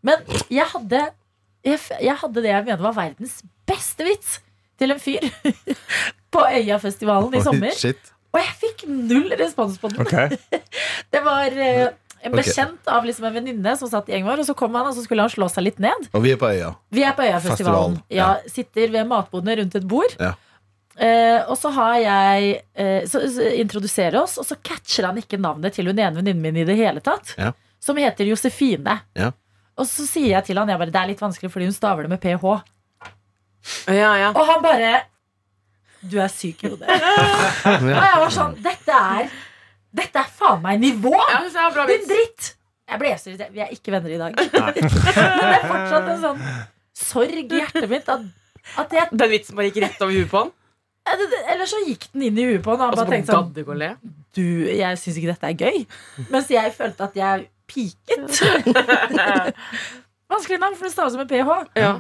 B: Men jeg hadde jeg, f- jeg hadde det jeg mener var verdens beste vits Til en fyr På Øyafestivalen i sommer
C: Shit.
B: Og jeg fikk null respons på den. Det var eh, en
C: Ok.
B: bekjent av liksom en venninne som satt i gjengen vår, og så kom han, og så skulle han slå seg litt ned.
C: Og vi er på øya.
B: Vi er på Øyafestivalen.
C: Festivalen,
B: Ja,
C: ja.
B: sitter ved matbodene rundt et bord.
C: Ja.
B: Eh, og så har jeg eh, så, så introduserer oss, og så catcher han ikke navnet til hun ene venninnen min i det hele tatt.
C: Ja.
B: Som heter Josefine.
C: Ja.
B: Og så sier jeg til han jeg bare, det er litt vanskelig fordi hun staver det med ph.
F: Ja, ja.
B: Og han bare Du er syk i hodet. og jeg var sånn Dette er Dette er faen meg nivå!
F: ja så er det bra
B: Din
F: vits.
B: dritt! Jeg ble så irritert. Vi er ikke venner i dag. Men det er fortsatt en sånn sorg i hjertet mitt at, at jeg
F: Den vitsen bare gikk rett over huet på han.
B: Eller så gikk den inn i huet på han, og
F: Og
B: han
F: så
B: bare
F: bare
B: tenkte sånn
F: gadd ikke å le.
B: Du, jeg syns ikke dette er gøy. Mens jeg følte at jeg piket. Vanskelig navn, for det staves med ph.
F: Ja.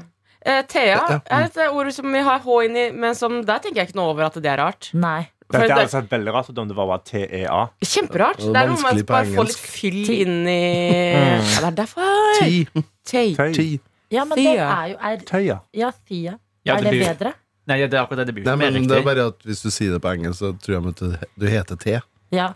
F: Eh, Thea
C: Ja.
F: er et eh, ord som vi har H inni, men som der tenker jeg ikke noe over at det er rart.
B: Nei.
E: Det, det
F: For
E: hadde
F: det-
E: sett veldig rart ut om det var E bare TEA.
F: Kjemperart.
C: Og
F: Det er noe med
C: vanskelig
F: å
C: på
F: bare få litt
C: engelsk. Mm.
F: fyll inn i ja, Det er derfor.
C: Ti.
F: Tay.
E: Tøy.
B: Ja, men det
F: Thea.
B: er jo er,
E: Tøya.
B: Ja, Thea.
D: Ja,
B: Er
D: det
B: det
D: blir,
B: bedre?
D: nei, det er akkurat det. Det blir
C: Nei,
D: jo mer
C: men det er
D: riktig.
C: bare at Hvis du sier det på engelsk, så tror jeg at du, du heter T.
B: Ja.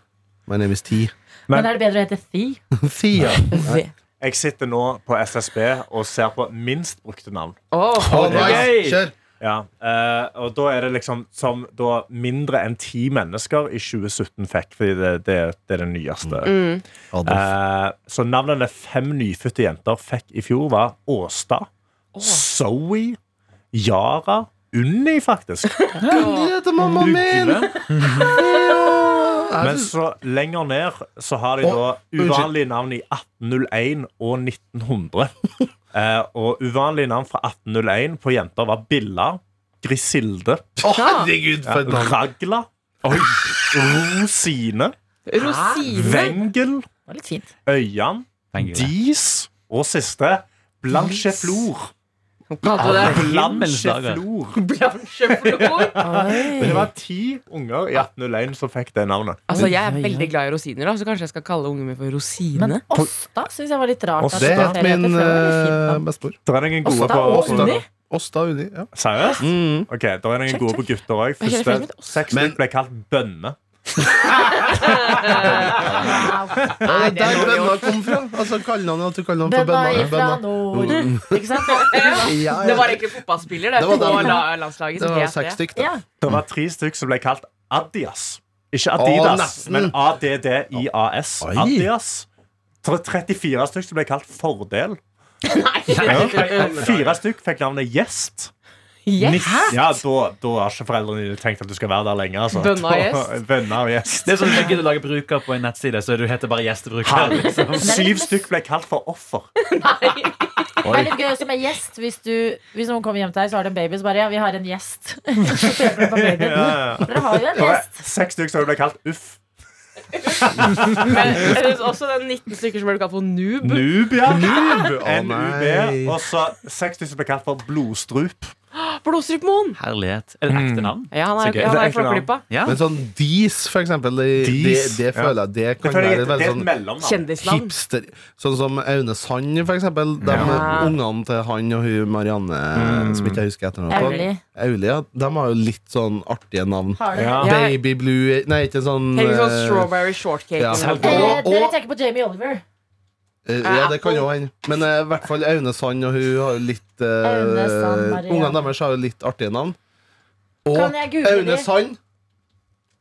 C: My name is T.
E: Men-
B: Men er det bedre å hete Thi?
C: Thea.
E: Jeg sitter nå på SSB og ser på minst brukte navn.
F: Åh.
C: Oh,
D: Hey.
C: nice. Kjør.
E: Ja, eh, og da er det liksom som da mindre enn ti mennesker i 2017 fikk, fordi det, det, det er det nyeste.
F: Mm.
C: Adolf.
E: Eh, så navnene fem nyfødte jenter fikk i fjor, var Åsta, Zoe, Yara, Unni, faktisk.
C: Unni heter mamma min!
E: Ugle.
C: Ja.
E: Men så lenger ned så har de
C: Å,
E: da
C: unnskyld.
E: uvanlige navn i 1801 og 1900. Eh, og uvanlige navn fra 1801 på jenter var Billa, Grisilde,
C: Å, herregud, for et navn.
E: Ragla, Rosine,
F: Rosine.
E: Wengel,
B: Det var litt fint.
E: Øyan,
D: Tenker jeg.
E: Dis og siste Blancheflor.
F: Hun kalte det
D: Himmelsdager.
E: Blancheflor.
F: Blanche flor.
E: Det var ti unger i 1801 som fikk det navnet.
F: Altså, jeg er
B: Oi, oi, oi.
F: veldig glad i rosiner, da, så kanskje jeg skal kalle ungen min for
B: Men
F: Rosine.
B: Åsta syns jeg var litt rart.
E: Åsta.
B: at
C: Det
B: var
C: het
B: flere
C: min
B: heter, for det var litt fint
C: uh,
B: navn.
C: bestemor.
E: Det er noen gode
B: Åsta og
E: på
B: Unni?
C: Åsta Uni. Ja.
E: Seriøst?
C: Mm.
E: Ok, Da er det noen
B: Check,
E: gode på gutter òg.
F: Ok, det er flere som
E: Første
F: heter Åsta.
E: sexstykk
C: Men-
E: ble kalt bønne.
C: Nei, det er der Bønna kom fra! Altså, Kallenavnet at du kaller noen for
B: Bønna
C: Bønna.
B: ifra
C: Bønna.
B: nord. Ikke sant?
C: Ja,
F: Det var
C: ja.
F: egentlig fotballspiller, det.
C: Det var
F: på
C: den.
F: la- landslaget.
C: Det
F: som
C: var
F: het
C: seks
F: det.
C: stykk, da.
B: Ja.
E: Det var tre stykk som ble kalt Adias. Ikke
C: Å,
E: Adidas,
C: nesten.
E: men ADDIAS.
C: Oi.
E: Adias. Så det var 34 stykk som ble kalt Fordel. Ja. Fire stykk fikk navnet Gjest.
F: Yes.
E: Niss- Ja, da, da har ikke foreldrene dine tenkt at du skal være der lenge. Altså.
F: Bønna og
E: Da-
F: Gjest.
E: Bønna og Gjest.
D: Det er sånn at du gidder å lage bruker på en nettside, så du heter bare gjestebruker.
E: Herlig.
D: Liksom.
E: Syv stykk ble kalt for offer.
B: Det er litt gøy også med gjest. Hvis, du, hvis noen kommer hjem til deg, så har du en baby, så bare ja, vi har en gjest. Så peker du på babyen. Dere har jo en
E: Det var
B: gjest.
E: Seks stykk som ble kalt Uff.
F: Men jeg synes også den 19 stykker som ble kalt for noob.
E: Noob, ja. Noob.
C: Å, nei.
E: Og så seks stykk som ble kalt for Blodstrup.
F: Blodstrupmoen!
D: Herlighet. Er det et ekte navn?
F: Ja, han
D: Så
F: er,
D: gøy.
F: han
E: Det er
F: er i
E: ikke noe
F: Flåklypa.
D: Ja.
B: Ah.
C: Men sånn Dis, for eksempel, det, det,
E: Dis,
C: det
E: ja.
C: føler jeg det
E: Det
C: kan være
E: er
C: veldig
E: et
C: sånn
E: mellomnavn.
F: Kjendisnavn.
C: hipster Sånn som Aune Sand, for eksempel. De
F: Ja.
C: ungene til han og hun Marianne,
E: Mm.
C: som ikke jeg husker etternavnet
B: Auli.
C: på. Auli, ja. De har jo litt sånn artige navn.
B: Har du
E: Ja.
B: det?
F: Ja.
C: Baby Blue Nei, ikke sånn
F: Helt sånn
C: eh,
F: strawberry shortcake. liksom.
C: ja.
F: eller noe.
B: Eh,
C: Og-
B: dere
C: og-
B: tenker på Jamie Oliver.
C: Eh, Ja, det kan jo hende. Men eh, i hvert fall Aune Sand og hun har jo litt eh,
B: Aune Sand, Maria.
C: Ungene deres har jo litt artige navn. Og
B: Kan jeg google
C: Aune
B: de?
C: Sand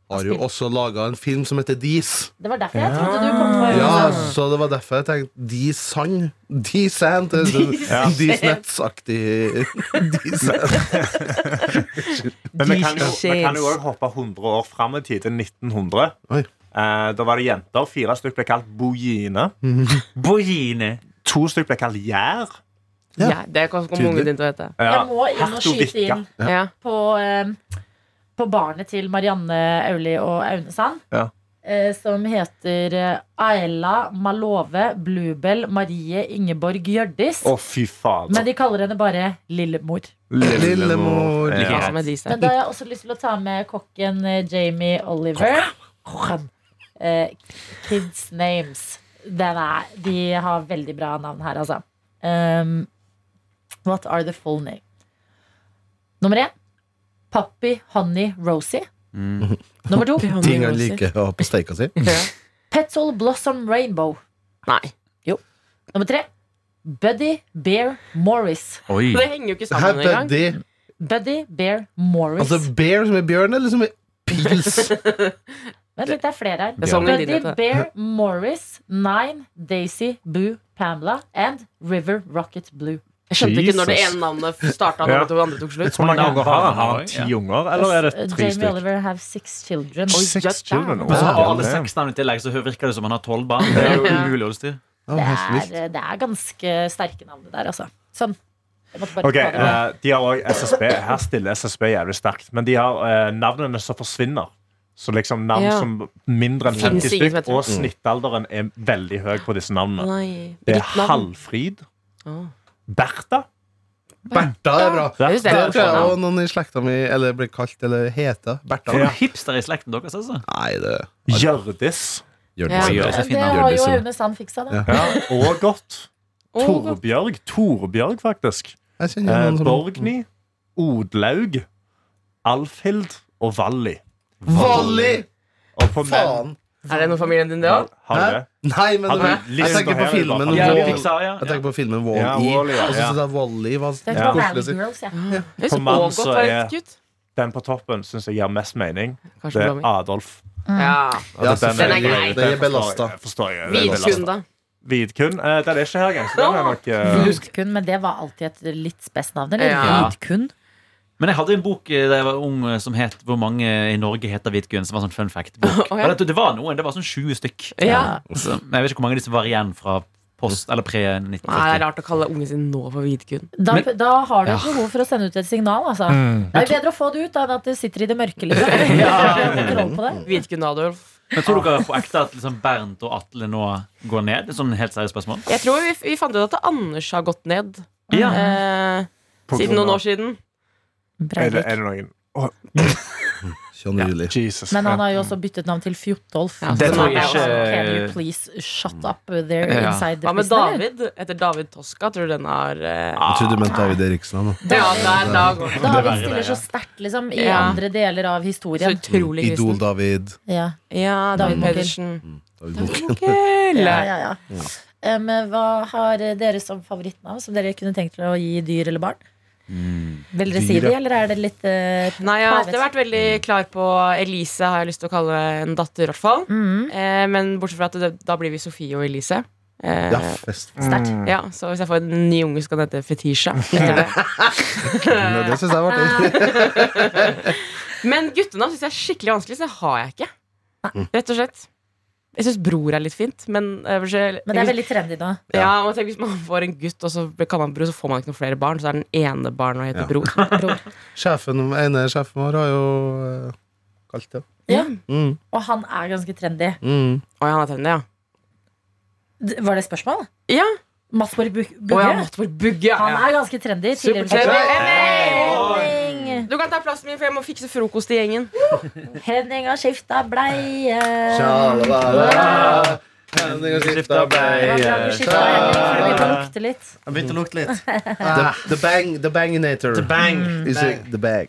C: har jo også laga en film som heter Dis.
B: Det var derfor jeg trodde du kom på Aune
C: Ja,
B: Sand.
C: Så det var derfor jeg tenkte De Sand. De Sand. det er sånn-
E: Ja.
C: De Snets-aktig. De Sand.
E: Men vi kan jo-
F: Jesus.
E: vi kan jo òg hoppe 100 år fram i tid, til 1900.
C: Oi.
E: Eh, da var det jenter. Fire stykk ble kalt Bojine.
D: Bojine.
E: To stykk ble kalt Gjær.
C: Ja.
F: Ja, det kan komme ungen din til å hete.
E: Ja.
B: Jeg må inn og skyte
E: Hertovikka.
B: inn
F: Ja.
B: på, eh, på barnet til Marianne Auli og Aune Sand.
E: Ja.
B: eh, Som heter eh, Aella Malove Bluebell Marie Ingeborg Hjørdis.
E: Å, fy faen.
B: Men de kaller henne bare Lillemor.
C: Lillemor.
F: Ja,
E: Ja.
F: som er de
B: Men
F: stedene.
B: da har jeg også lyst til å ta med kokken eh, Jamie Oliver. Kokken. Eh, kids Names. Den er, de har veldig bra navn her, altså. Um, what are the full name? Nummer én Pappy Honey Rosie. Nummer to
C: Ting han liker å ha på steika si.
B: Petal Blossom Rainbow.
F: Nei.
B: Nummer tre Buddy Bear Morris.
D: Oi.
F: Det henger jo ikke
C: Her,
F: sammen engang.
C: Buddy.
B: Buddy Bear Morris.
C: Altså bear som er bjørn, eller som er pils?
B: Vent litt, det er flere her.
F: Det er sånn en
B: Buddy
F: linje til det.
B: Bear Morris, Nine, Daisy, Boo, Pamela and River Rocket Blue.
F: Jeg skjønte ikke når det
E: Jesus.
F: ene navnet starta, og
E: Ja.
F: det andre tok slutt.
E: Hvor mange unger har han? Har han
D: Ja.
E: ti unger, eller er det tre
B: uh, Jamie
E: stykk?
B: Oliver have six children.
E: Seks children.
D: Men så har
E: Wow.
D: alle seks navn i tillegg, så virker det som han har tolv barn. Det er jo umulig å styre.
C: Det
B: Det
C: var helt vilt.
B: er, det er ganske sterke navn det der, altså. Sånn. Jeg måtte bare
E: Ok,
B: ta det med.
E: eh, de har også SSB. Her stiller SSB jævlig sterkt. Men de har eh, navnene som forsvinner. Så liksom navn
F: Ja.
E: som mindre enn
F: Finnes
E: 50 stykk,
F: ingen Mm. som heter
E: og snittalderen er veldig høy på disse navnene.
F: Nei.
E: Det er
F: Ditt navn.
E: Halvfrid.
F: Å.
E: Bertha.
C: Bertha er bra.
F: Jeg synes det
C: Det
F: er
C: tror jeg
F: morsomt.
C: også noen i slekta mi Eller blir kalt eller heter Bertha.
D: For noen hipster i slekten deres, altså.
C: Nei, det
E: Hjørdis.
C: gjør
F: Ja.
C: det ikke.
D: Oi, oi.
B: Men
D: så fin
B: Det
D: navn.
B: har jo
C: Gjør det
B: Aune Sand fiksa, da.
C: Ja.
E: Ja, og godt.
F: Å, godt.
E: Torbjørg. Torbjørg, faktisk.
C: Jeg kjenner
E: Eh,
C: noen som
E: Borgny. Odlaug. Alfhild og Vally.
C: Volley!
E: Og på menn
C: Faen!
F: Er det noen familien din, det òg?
E: har
C: Hæ?
E: det.
C: Nei, men
E: Hadde
C: jeg
E: du lyst
C: tenker
E: på
C: på
E: her,
C: filmen
E: i hvert fall?
D: Ja,
C: Wall-
D: Pixar, ja.
C: Jeg tenker på filmen
E: Ja,
C: Wall-E.
E: Wall-E, ja.
C: Og så syns jeg Wall-E var
B: Det
C: ja.
B: er Valley
C: koselig. å si.
B: Girls, ja.
F: Jeg
E: For
F: synes
E: mannen
F: Ågot
E: så
F: var
E: er-
F: helt gutt.
E: Den på toppen syns jeg gir mest mening.
F: Kanskje
E: Det er
F: Blommy.
E: Adolf.
F: Ja.
C: Ja,
E: Altså,
F: den er
C: selvfølgelig.
F: grei.
C: Det er
E: forstår
C: belasta.
E: jeg- forstår jeg. Det er
F: Vidkun,
E: belasta.
F: da.
E: Vidkun. Eh, Den er ikke her engang, så den er nok eh,
B: Vidkun, men det var alltid et litt spes navn. Eller
F: Ja.
B: Vidkun?
D: Men jeg hadde en bok eh, da jeg var ung eh, som het 'Hvor mange i Norge heter hvitgun'. Som var sånn fun fact-bok.
F: Å, ja.
D: Og det- Det var noen, det var sånn 20 stykk.
F: Ja.
D: Så, men jeg vet ikke hvor mange av disse var igjen fra post eller
F: Nei, det er
D: pre-1940.
F: rart å kalle ungen sin nå for Vidkun.
B: Da,
D: Men-
B: da har du
D: Ja.
B: et behov for å sende ut et signal, altså. Det er jo bedre å få det ut da, enn at det sitter i det mørke, liksom. Har du kontroll på det.
F: Vidkun Adolf.
D: Men tror dere på ekte at liksom Bernt og Atle nå går ned? Det er Sånn helt seriøst spørsmål.
F: Jeg tror vi, vi fant ut at Anders har gått ned.
D: Ja.
F: Eh,
E: på
F: siden
E: grunn
F: noen
E: av-
F: år siden.
E: Er det,
B: Breivik.
E: er det noen Å,
C: Kjønn juli.
E: Jesus.
B: Men han har jo også byttet navn til Fjotolf.
F: Ja,
B: Så
F: det tror
B: han er
F: jeg
B: jo
F: ikke-
B: sånn, Can you please shut up there
D: Ja.
B: inside the
F: Hva med
B: prison, eller?
F: David? Etter David Toska, tror du den har eh,
C: Jeg trodde du mente David Eriksen. han, da.
F: Ja, der, da går det.
B: David
E: verre,
B: stiller
E: det, ja.
B: så sterkt liksom, i
F: Ja.
B: andre deler av
F: Så
B: historien.
F: utrolig kristen.
C: Idol-David.
B: Ja,
F: Ja, David
B: David Mokel.
F: Pedersen.
C: David Boken.
B: ja,
F: Mokel.
B: ja, ja. Um, hva har dere som favorittnavn som dere kunne tenkt dere å gi dyr eller barn? Vil dere si
C: Dyr, ja.
B: det, eller er det litt eh,
F: Nei, jeg har alltid vært veldig klar på Elise, har jeg lyst til å kalle en datter, i hvert fall.
B: mm,
F: Eh, men bortsett fra at det, da blir vi Sofie og Elise. Eh,
C: Ja,
F: ja.
C: fest.
B: sterkt?
F: Så hvis jeg får en ny unge, så kan den hete Fetisha. Etter det.
C: Men Det syns jeg var artig.
F: Men guttenavn syns jeg er skikkelig vanskelig, så det har jeg ikke. Rett og slett. Jeg syns bror er litt fint, men, eh, hvis jeg-
B: Men det er veldig trendy nå.
F: ja, man tenker, Hvis man får en gutt, og så kaller man bror, så får man ikke noen flere barn. Så er den ene barnet og
C: Ja.
F: heter bror.
B: Bror.
C: Sjefen, ene sjefen vår har jo eh, kalt det
B: Ja.
C: mm,
B: Og han er ganske trendy.
C: mm.
F: Å ja, han er trendy, ja.
B: D- Var det et spørsmål?
F: Ja.
B: Masborg Bu-
F: Å ja,
B: Bugge?
F: Mattvor Bugge.
B: Han
F: Ja.
B: er ganske trendy. tidligere
F: Supertrendy.
B: musikk.
F: Henning!
B: Henning!
F: Du kan ta plassen min, for jeg må fikse frokost i gjengen.
B: Henning har skifta bleie.
C: Sjalala, Henning har
B: Det
C: skifta
B: var bra du
C: bleie.
B: skiftet, Henning, for det begynte å lukte litt.
G: Jeg begynte å lukte litt.
C: The, the bang, the banginator.
G: The bang.
C: Is it the bang?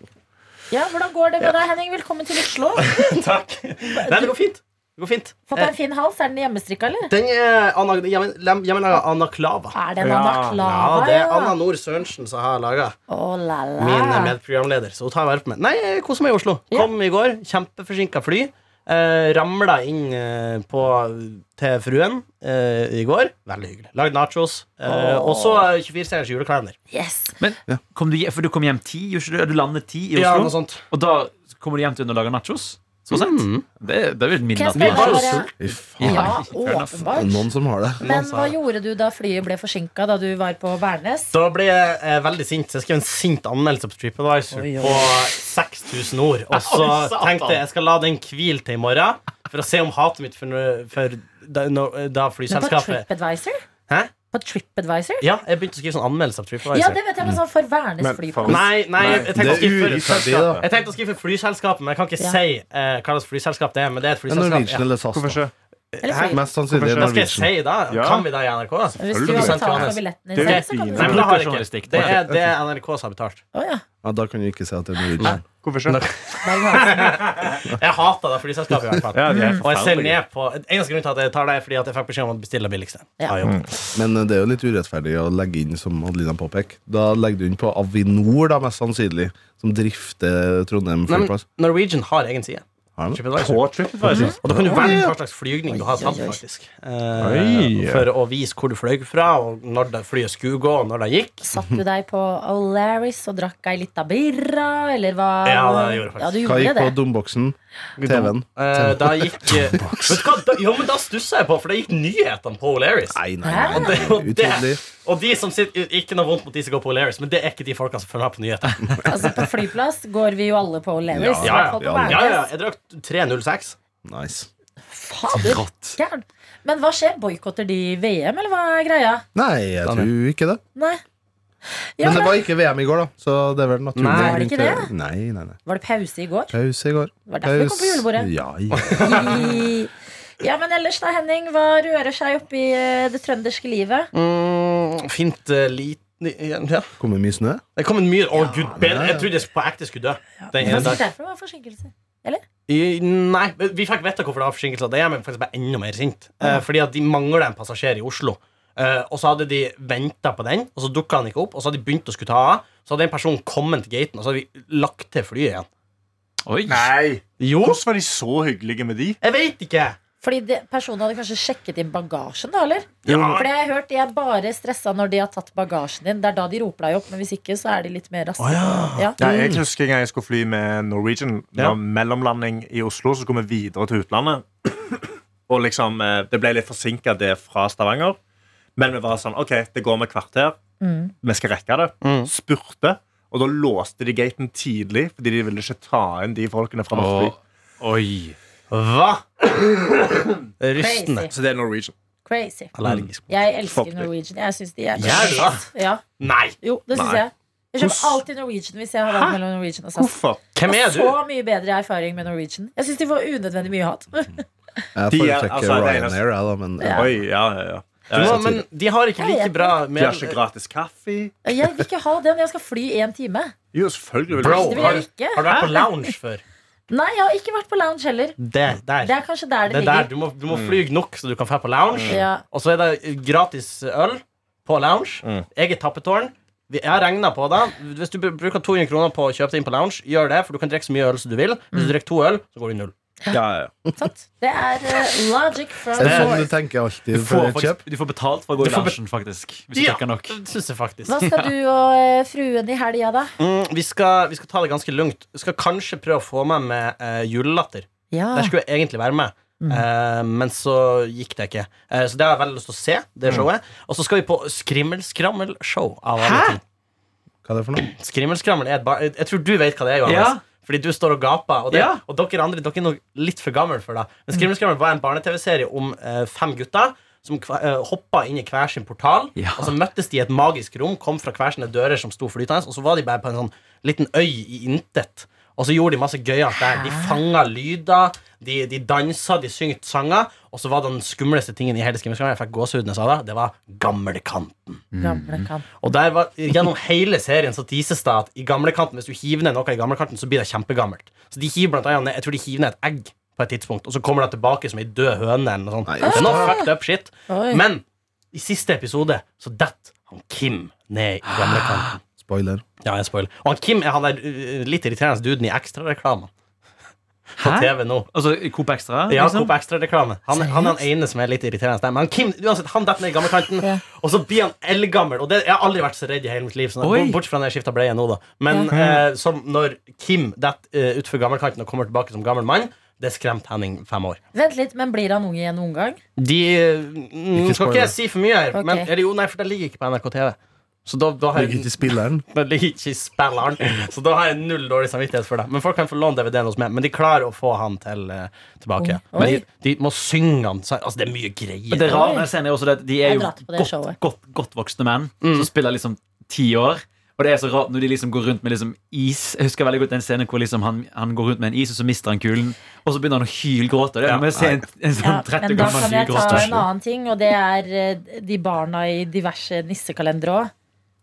B: Ja, Hvordan går det med deg, Henning? Velkommen til Oslo.
G: Takk. Nei, det går fint. Det går fint.
B: Fått deg en fin hals. Er den hjemmestrikka, eller?
G: Den er ana, jamen, lem- jamen, er anaklava.
B: Er det en
E: Ja,
G: Ja,
B: anaklava?
G: det er
B: Ah, ja? Ah.
G: Anna Nord Sørensen som har laga.
B: Å, la, la.
G: Min eh, medprogramleder. Så hun tar vare på meg. Nei, jeg koser meg i Oslo. Kom i går. Kjempeforsinka fly. Eh, Ramla inn eh, på, til fruen eh, i går. Veldig hyggelig. Lagd nachos. Eh, og så eh, 24-stjerners julekalender.
B: Yes.
D: Men kom du, hje- for du kom hjem ti, gjorde ikke du? Du landet ti i
G: Ja, noe
D: Oslo,
G: sånt.
D: og da kommer du hjem til under å lage nachos? Så sent?
F: Mm.
D: Det, det er jo et
B: Kan jeg
D: midnatt.
B: spørre
G: var jo
B: deg bare-
C: Fy faen.
B: Ja,
D: fair enough.
B: åpenbart.
C: Noen som har det.
B: Men hva gjorde du da flyet ble forsinka da du var på Værnes?
G: Da ble jeg eh, veldig sint. Så jeg skrev en sint anmeldelse på TripAdvisor på 6000 ord. Og så tenkte jeg jeg skal la den hvile til i morgen, for å se om hatet mitt for, for da, når, da
B: Men på
G: flyselskapet
B: TripAdvisor?
G: Hæ?
B: På TripAdvisor?
G: Ja, jeg begynte å skrive sånn anmeldelse på TripAdvisor.
B: Ja, det vet jeg, men sånn for Værnes
E: Men
B: flyplass.
E: for-
G: Nei, nei, jeg, jeg tenkte å
C: Det er
G: skrive for-
C: urettferdig, da.
G: Jeg tenkte å skrive for flyselskapet, men jeg kan ikke
B: Ja.
G: si eh, hva slags flyselskap det er. Men det er et
C: Det er
G: flyselskap
C: Norwegian
G: ja.
C: eller SAS.
E: Hvorfor
C: Da.
E: ikke?
B: Eller fly-
C: Mest sannsynlig
G: Hva skal jeg
C: Norwegian.
G: si da?
E: Ja.
G: Kan vi det i NRK? da?
B: Hvis du
E: Selvfølgelig.
B: har betalt for
G: Sentralnes.
B: billetten
E: Det
B: din
E: er
B: selv, så kan du
G: Nei,
B: Å
G: men det har jeg ikke.
D: Brukerjournalistikk,
G: Det
D: da.
G: er det er NRK som har betalt.
B: ja.
C: Ja, da kan du ikke si at det er Norwegian.
E: Hvorfor ikke?
B: Berg-Hansen.
G: Jeg hater det flyselskapet. i hvert fall
E: Ja, de er
G: Og jeg ser
E: forferdelige.
G: Mm. ned på Eneste grunn til at jeg tar det, er fordi at jeg fikk beskjed om å bestille det billigste.
B: Ja.
G: Av jobben.
C: Men eh, det er jo litt urettferdig å legge inn, som Adelina påpeker. Da legger du inn på Avinor, da, mest sannsynlig, som drifter Trondheim
G: Nei,
C: flyplass.
G: men Norwegian har egen side.
C: Har de det?
G: TripAdvisor.
E: På TripAdvisor?
G: Og da kan du velge hva slags flygning du har tatt, faktisk. Eh,
E: Oi.
G: for å vise hvor du fløy fra, og når det flyet skulle gå, og når det gikk.
B: Satt du deg på O'Larris og drakk ei lita birra, eller hva?
G: Ja, det gjorde jeg faktisk.
B: Ja, du gjorde
C: Hva gikk på
B: det.
C: domboksen? TV-en?
G: Eh, da gikk eh, Vet du hva? Da, jo, men da stussa jeg på, for da gikk nyhetene på O'Learys.
C: Nei, nei,
B: Hæ?
C: nei.
G: Det er jo
C: Utydelig.
G: det. Og de som sitter, Ikke noe vondt mot de som går på O'Learys, men det er ikke de folkene som følger med på nyhetene.
B: Altså, på flyplass går vi jo alle på O'Larris.
C: Ja,
B: i hvert fall
C: ja,
B: på
C: ja.
G: Ja, ja,
B: Værnes.
G: jeg drakk 306.
C: Nice.
B: Fader, gæren. Men hva skjer? Boikotter de VM, eller hva er greia?
C: Nei, jeg
G: Daniel.
C: tror ikke det.
B: Nei. Ja,
C: Men det
B: men,
C: var ikke VM i går, da. Så det er vel naturlig.
G: Nei.
C: grunn
B: Var det ikke
C: til- Nei, nei, nei.
B: var det pause i går?
C: Pause i går.
B: Det var derfor vi kom på julebordet.
C: Ja, ja.
B: I- Ja, men ellers da, Henning, hva rører seg oppi eh, det trønderske livet?
G: Mm, fint uh, liten ja.
C: Kommer mye snø?
G: Det kom en myr. Å, gud, bedre.
C: nei.
G: Jeg trodde jeg på ekte skulle dø. Den
B: Det var
G: ene
B: sikkert
G: dagen.
B: derfor det var forsinkelser.
G: I- Nei, men vi fikk vite hvorfor det var forsinkelser. Det gjør meg faktisk bare enda mer sint. Eh, fordi at de mangler en passasjer i Oslo. Eh, og så hadde de venta på den, og så dukka han ikke opp. Og så hadde de begynt å skulle ta av. Så hadde en person kommet til gaten, og så hadde vi lagt til flyet igjen.
D: Oi.
E: Nei!
G: Jo,
E: Hvordan var de så hyggelige med de?
G: jeg veit ikke!
B: Fordi det, personen hadde kanskje sjekket inn bagasjen, da, eller? For det har jeg hørt, de er bare stressa når de har tatt bagasjen din. Det er da de roper deg opp, men hvis ikke, så er de litt mer raske. ja.
E: Ja, jeg husker en gang jeg skulle fly med Norwegian. Det
G: Ja.
E: var mellomlanding i Oslo, så skulle vi videre til utlandet. Og liksom, eh, Det ble litt forsinka, det fra Stavanger. Men vi var sånn OK, det går med kvarter.
B: Mm.
E: Vi skal rekke det. Spurte. Og da låste de gaten tidlig, fordi de ville ikke ta inn de folkene fra
D: Å,
E: Norsk Fly.
D: oi.
G: Hva? Rystende.
B: Crazy.
E: Så det er Norwegian.
B: Crazy.
G: Allergisk.
B: Jeg
E: Fuck
B: elsker
E: deg.
B: Norwegian. Jeg syns de er
G: Gjør du
B: Ja.
G: Nei!
B: Jo, det syns
E: Nei.
B: jeg. Jeg kjøper alltid Norwegian hvis jeg har valgt mellom Norwegian og SAS.
E: Mm. Hvorfor?
G: Hvem
B: Jeg
G: er
B: har
G: du?
B: Så mye bedre erfaring med Norwegian. Jeg syns de får unødvendig mye hat.
C: Jeg
E: De er-
C: foretrekker
E: altså, det er eneste-
C: Ryanair, jeg, da, men
B: Ja.
E: Oi, ja, ja, ja.
G: du må, men de har ikke
B: Jeg
G: like
B: vet
G: bra
E: De har
G: med
E: ikke gratis kaffe.
B: Jeg vil ikke ha det når jeg skal fly én time.
E: Jo, selvfølgelig vil
G: Bro,
B: Det vil
G: har
B: jeg
G: du,
B: ikke.
G: har du vært på lounge før?
B: Nei, jeg har ikke vært på lounge heller.
G: Det der.
B: Det er kanskje der det
G: Det der,
B: ligger.
G: du må, du må fly nok så du kan dra på lounge.
B: Ja.
G: Og så er det gratis øl på lounge.
E: Mm.
G: Eget tappetårn. Vi- Jeg har regna på det. Hvis du br- bruker 200 kroner på å kjøpe det inn på lounge, gjør det, for du kan drikke så mye øl som du vil. Hvis du drikker to øl, så går det i null.
E: Ja, ja, ja.
B: Sant? Det er eh, logic from
C: Det er sånn
B: source.
C: du tenker alltid.
D: Du får,
C: før et kjøp.
D: faktisk, du får betalt for å gå i
G: Du får be-
D: lunsjen, faktisk. Hvis du
G: Ja.
D: drikker nok.
G: Det syns jeg faktisk.
B: Hva skal du og eh, fruen i helga, da?
G: Mm, vi, skal, vi skal ta det ganske lungt. Skal kanskje prøve å få meg med eh, julelatter.
B: Ja.
G: Der skulle jeg egentlig være med. Eh, men så gikk det ikke. Eh, så det har jeg veldig lyst til å se. Det showet Og så skal vi på Skrimmelskrammel-show. av alle ting.
C: Hva er det for noe?
G: Skrimmelskrammel er et bar Jeg tror du vet hva det er, Johannes.
D: Ja.
G: Fordi du står og gaper. Og, det,
D: Ja.
G: og dere andre dere er nok litt for gamle for det. Men Skrimmelskrammel var en barne-TV-serie om eh, fem gutter som kva- eh, hoppa inn i hver sin portal.
D: Ja.
G: Og så møttes de i et magisk rom, kom fra hver sine dører som sto flytende, og så var de bare på en sånn liten øy i intet. Og så gjorde de masse gøyalt der. De fanga lyder, de, de dansa, de syngte sanger. Og så var den skumleste tingen i hele Skrimmelskrammel, jeg fikk gåsehud når jeg sa det, det var Gamlekant.
B: Gamle kan.
G: Og der var, Gjennom hele serien så teases det at i gamlekanten, hvis du hiver ned noe i gamlekanten, så blir det kjempegammelt. Så de hiver blant annet, ned- Jeg tror de hiver ned et egg på et tidspunkt, og så kommer det tilbake som ei død høne. eller noe sånt.
C: Nei,
G: Det er noe fucked up shit.
B: Oi.
G: Men i siste episode så detter han Kim ned i gamlekanten.
C: Spoiler.
G: Ja, jeg spoiler. Og han Kim er han der uh, litt irriterende duden i ekstrareklamen på
D: Hæ?
G: TV nå.
D: Altså i Coop Extra?
G: Ja,
D: liksom?
G: Coop Extra-reklame. Han, han er den ene som er litt irriterende. der, Men han Kim uansett, han detter ned i gamlekanten,
B: Ja.
G: og så blir han eldgammel. Og det, jeg har aldri vært så redd i hele mitt liv, sånn,
D: Oi.
G: bort- bortsett fra når jeg skifta bleie nå, da. Men eh, som når Kim detter uh, utfor gamlekanten og kommer tilbake som gammel mann, det skremte Henning fem år.
B: Vent litt, men blir han ung igjen noen gang?
G: De eh, mm,
C: Ikke
G: Skal
C: spoiler.
G: ikke jeg si for mye her,
B: Ok.
G: men eller jo, nei, for det ligger ikke på NRK TV. Så da, da har
C: Ligger
G: jeg,
C: ikke i spilleren.
G: det ligger ikke i spilleren, så da har jeg null dårlig samvittighet for det. Men folk kan få låne DVD-en hos meg, men de klarer å få han til, eh, tilbake.
B: Oi.
G: Men de,
B: Oi.
G: de må synge han. så- Altså, det er mye greier.
D: Men Det rare med scenen er også det at de er
B: Jeg
D: jo
B: dratt på det
D: godt,
B: showet.
D: godt, godt voksne menn
G: Mm.
D: som spiller liksom ti år. Og det er så rart når de liksom går rundt med liksom is. Jeg husker veldig godt en scene hvor liksom han, han går rundt med en is, og så mister han kulen. Og så begynner han å hylgråte. Og det er
G: Ja,
D: noe med å se en, en
B: Ja,
D: sånn 30
B: men da
D: år gammel
B: kan jeg ta en
D: hylgråter.
B: annen ting, og det er eh, de barna i diverse nissekalendere òg.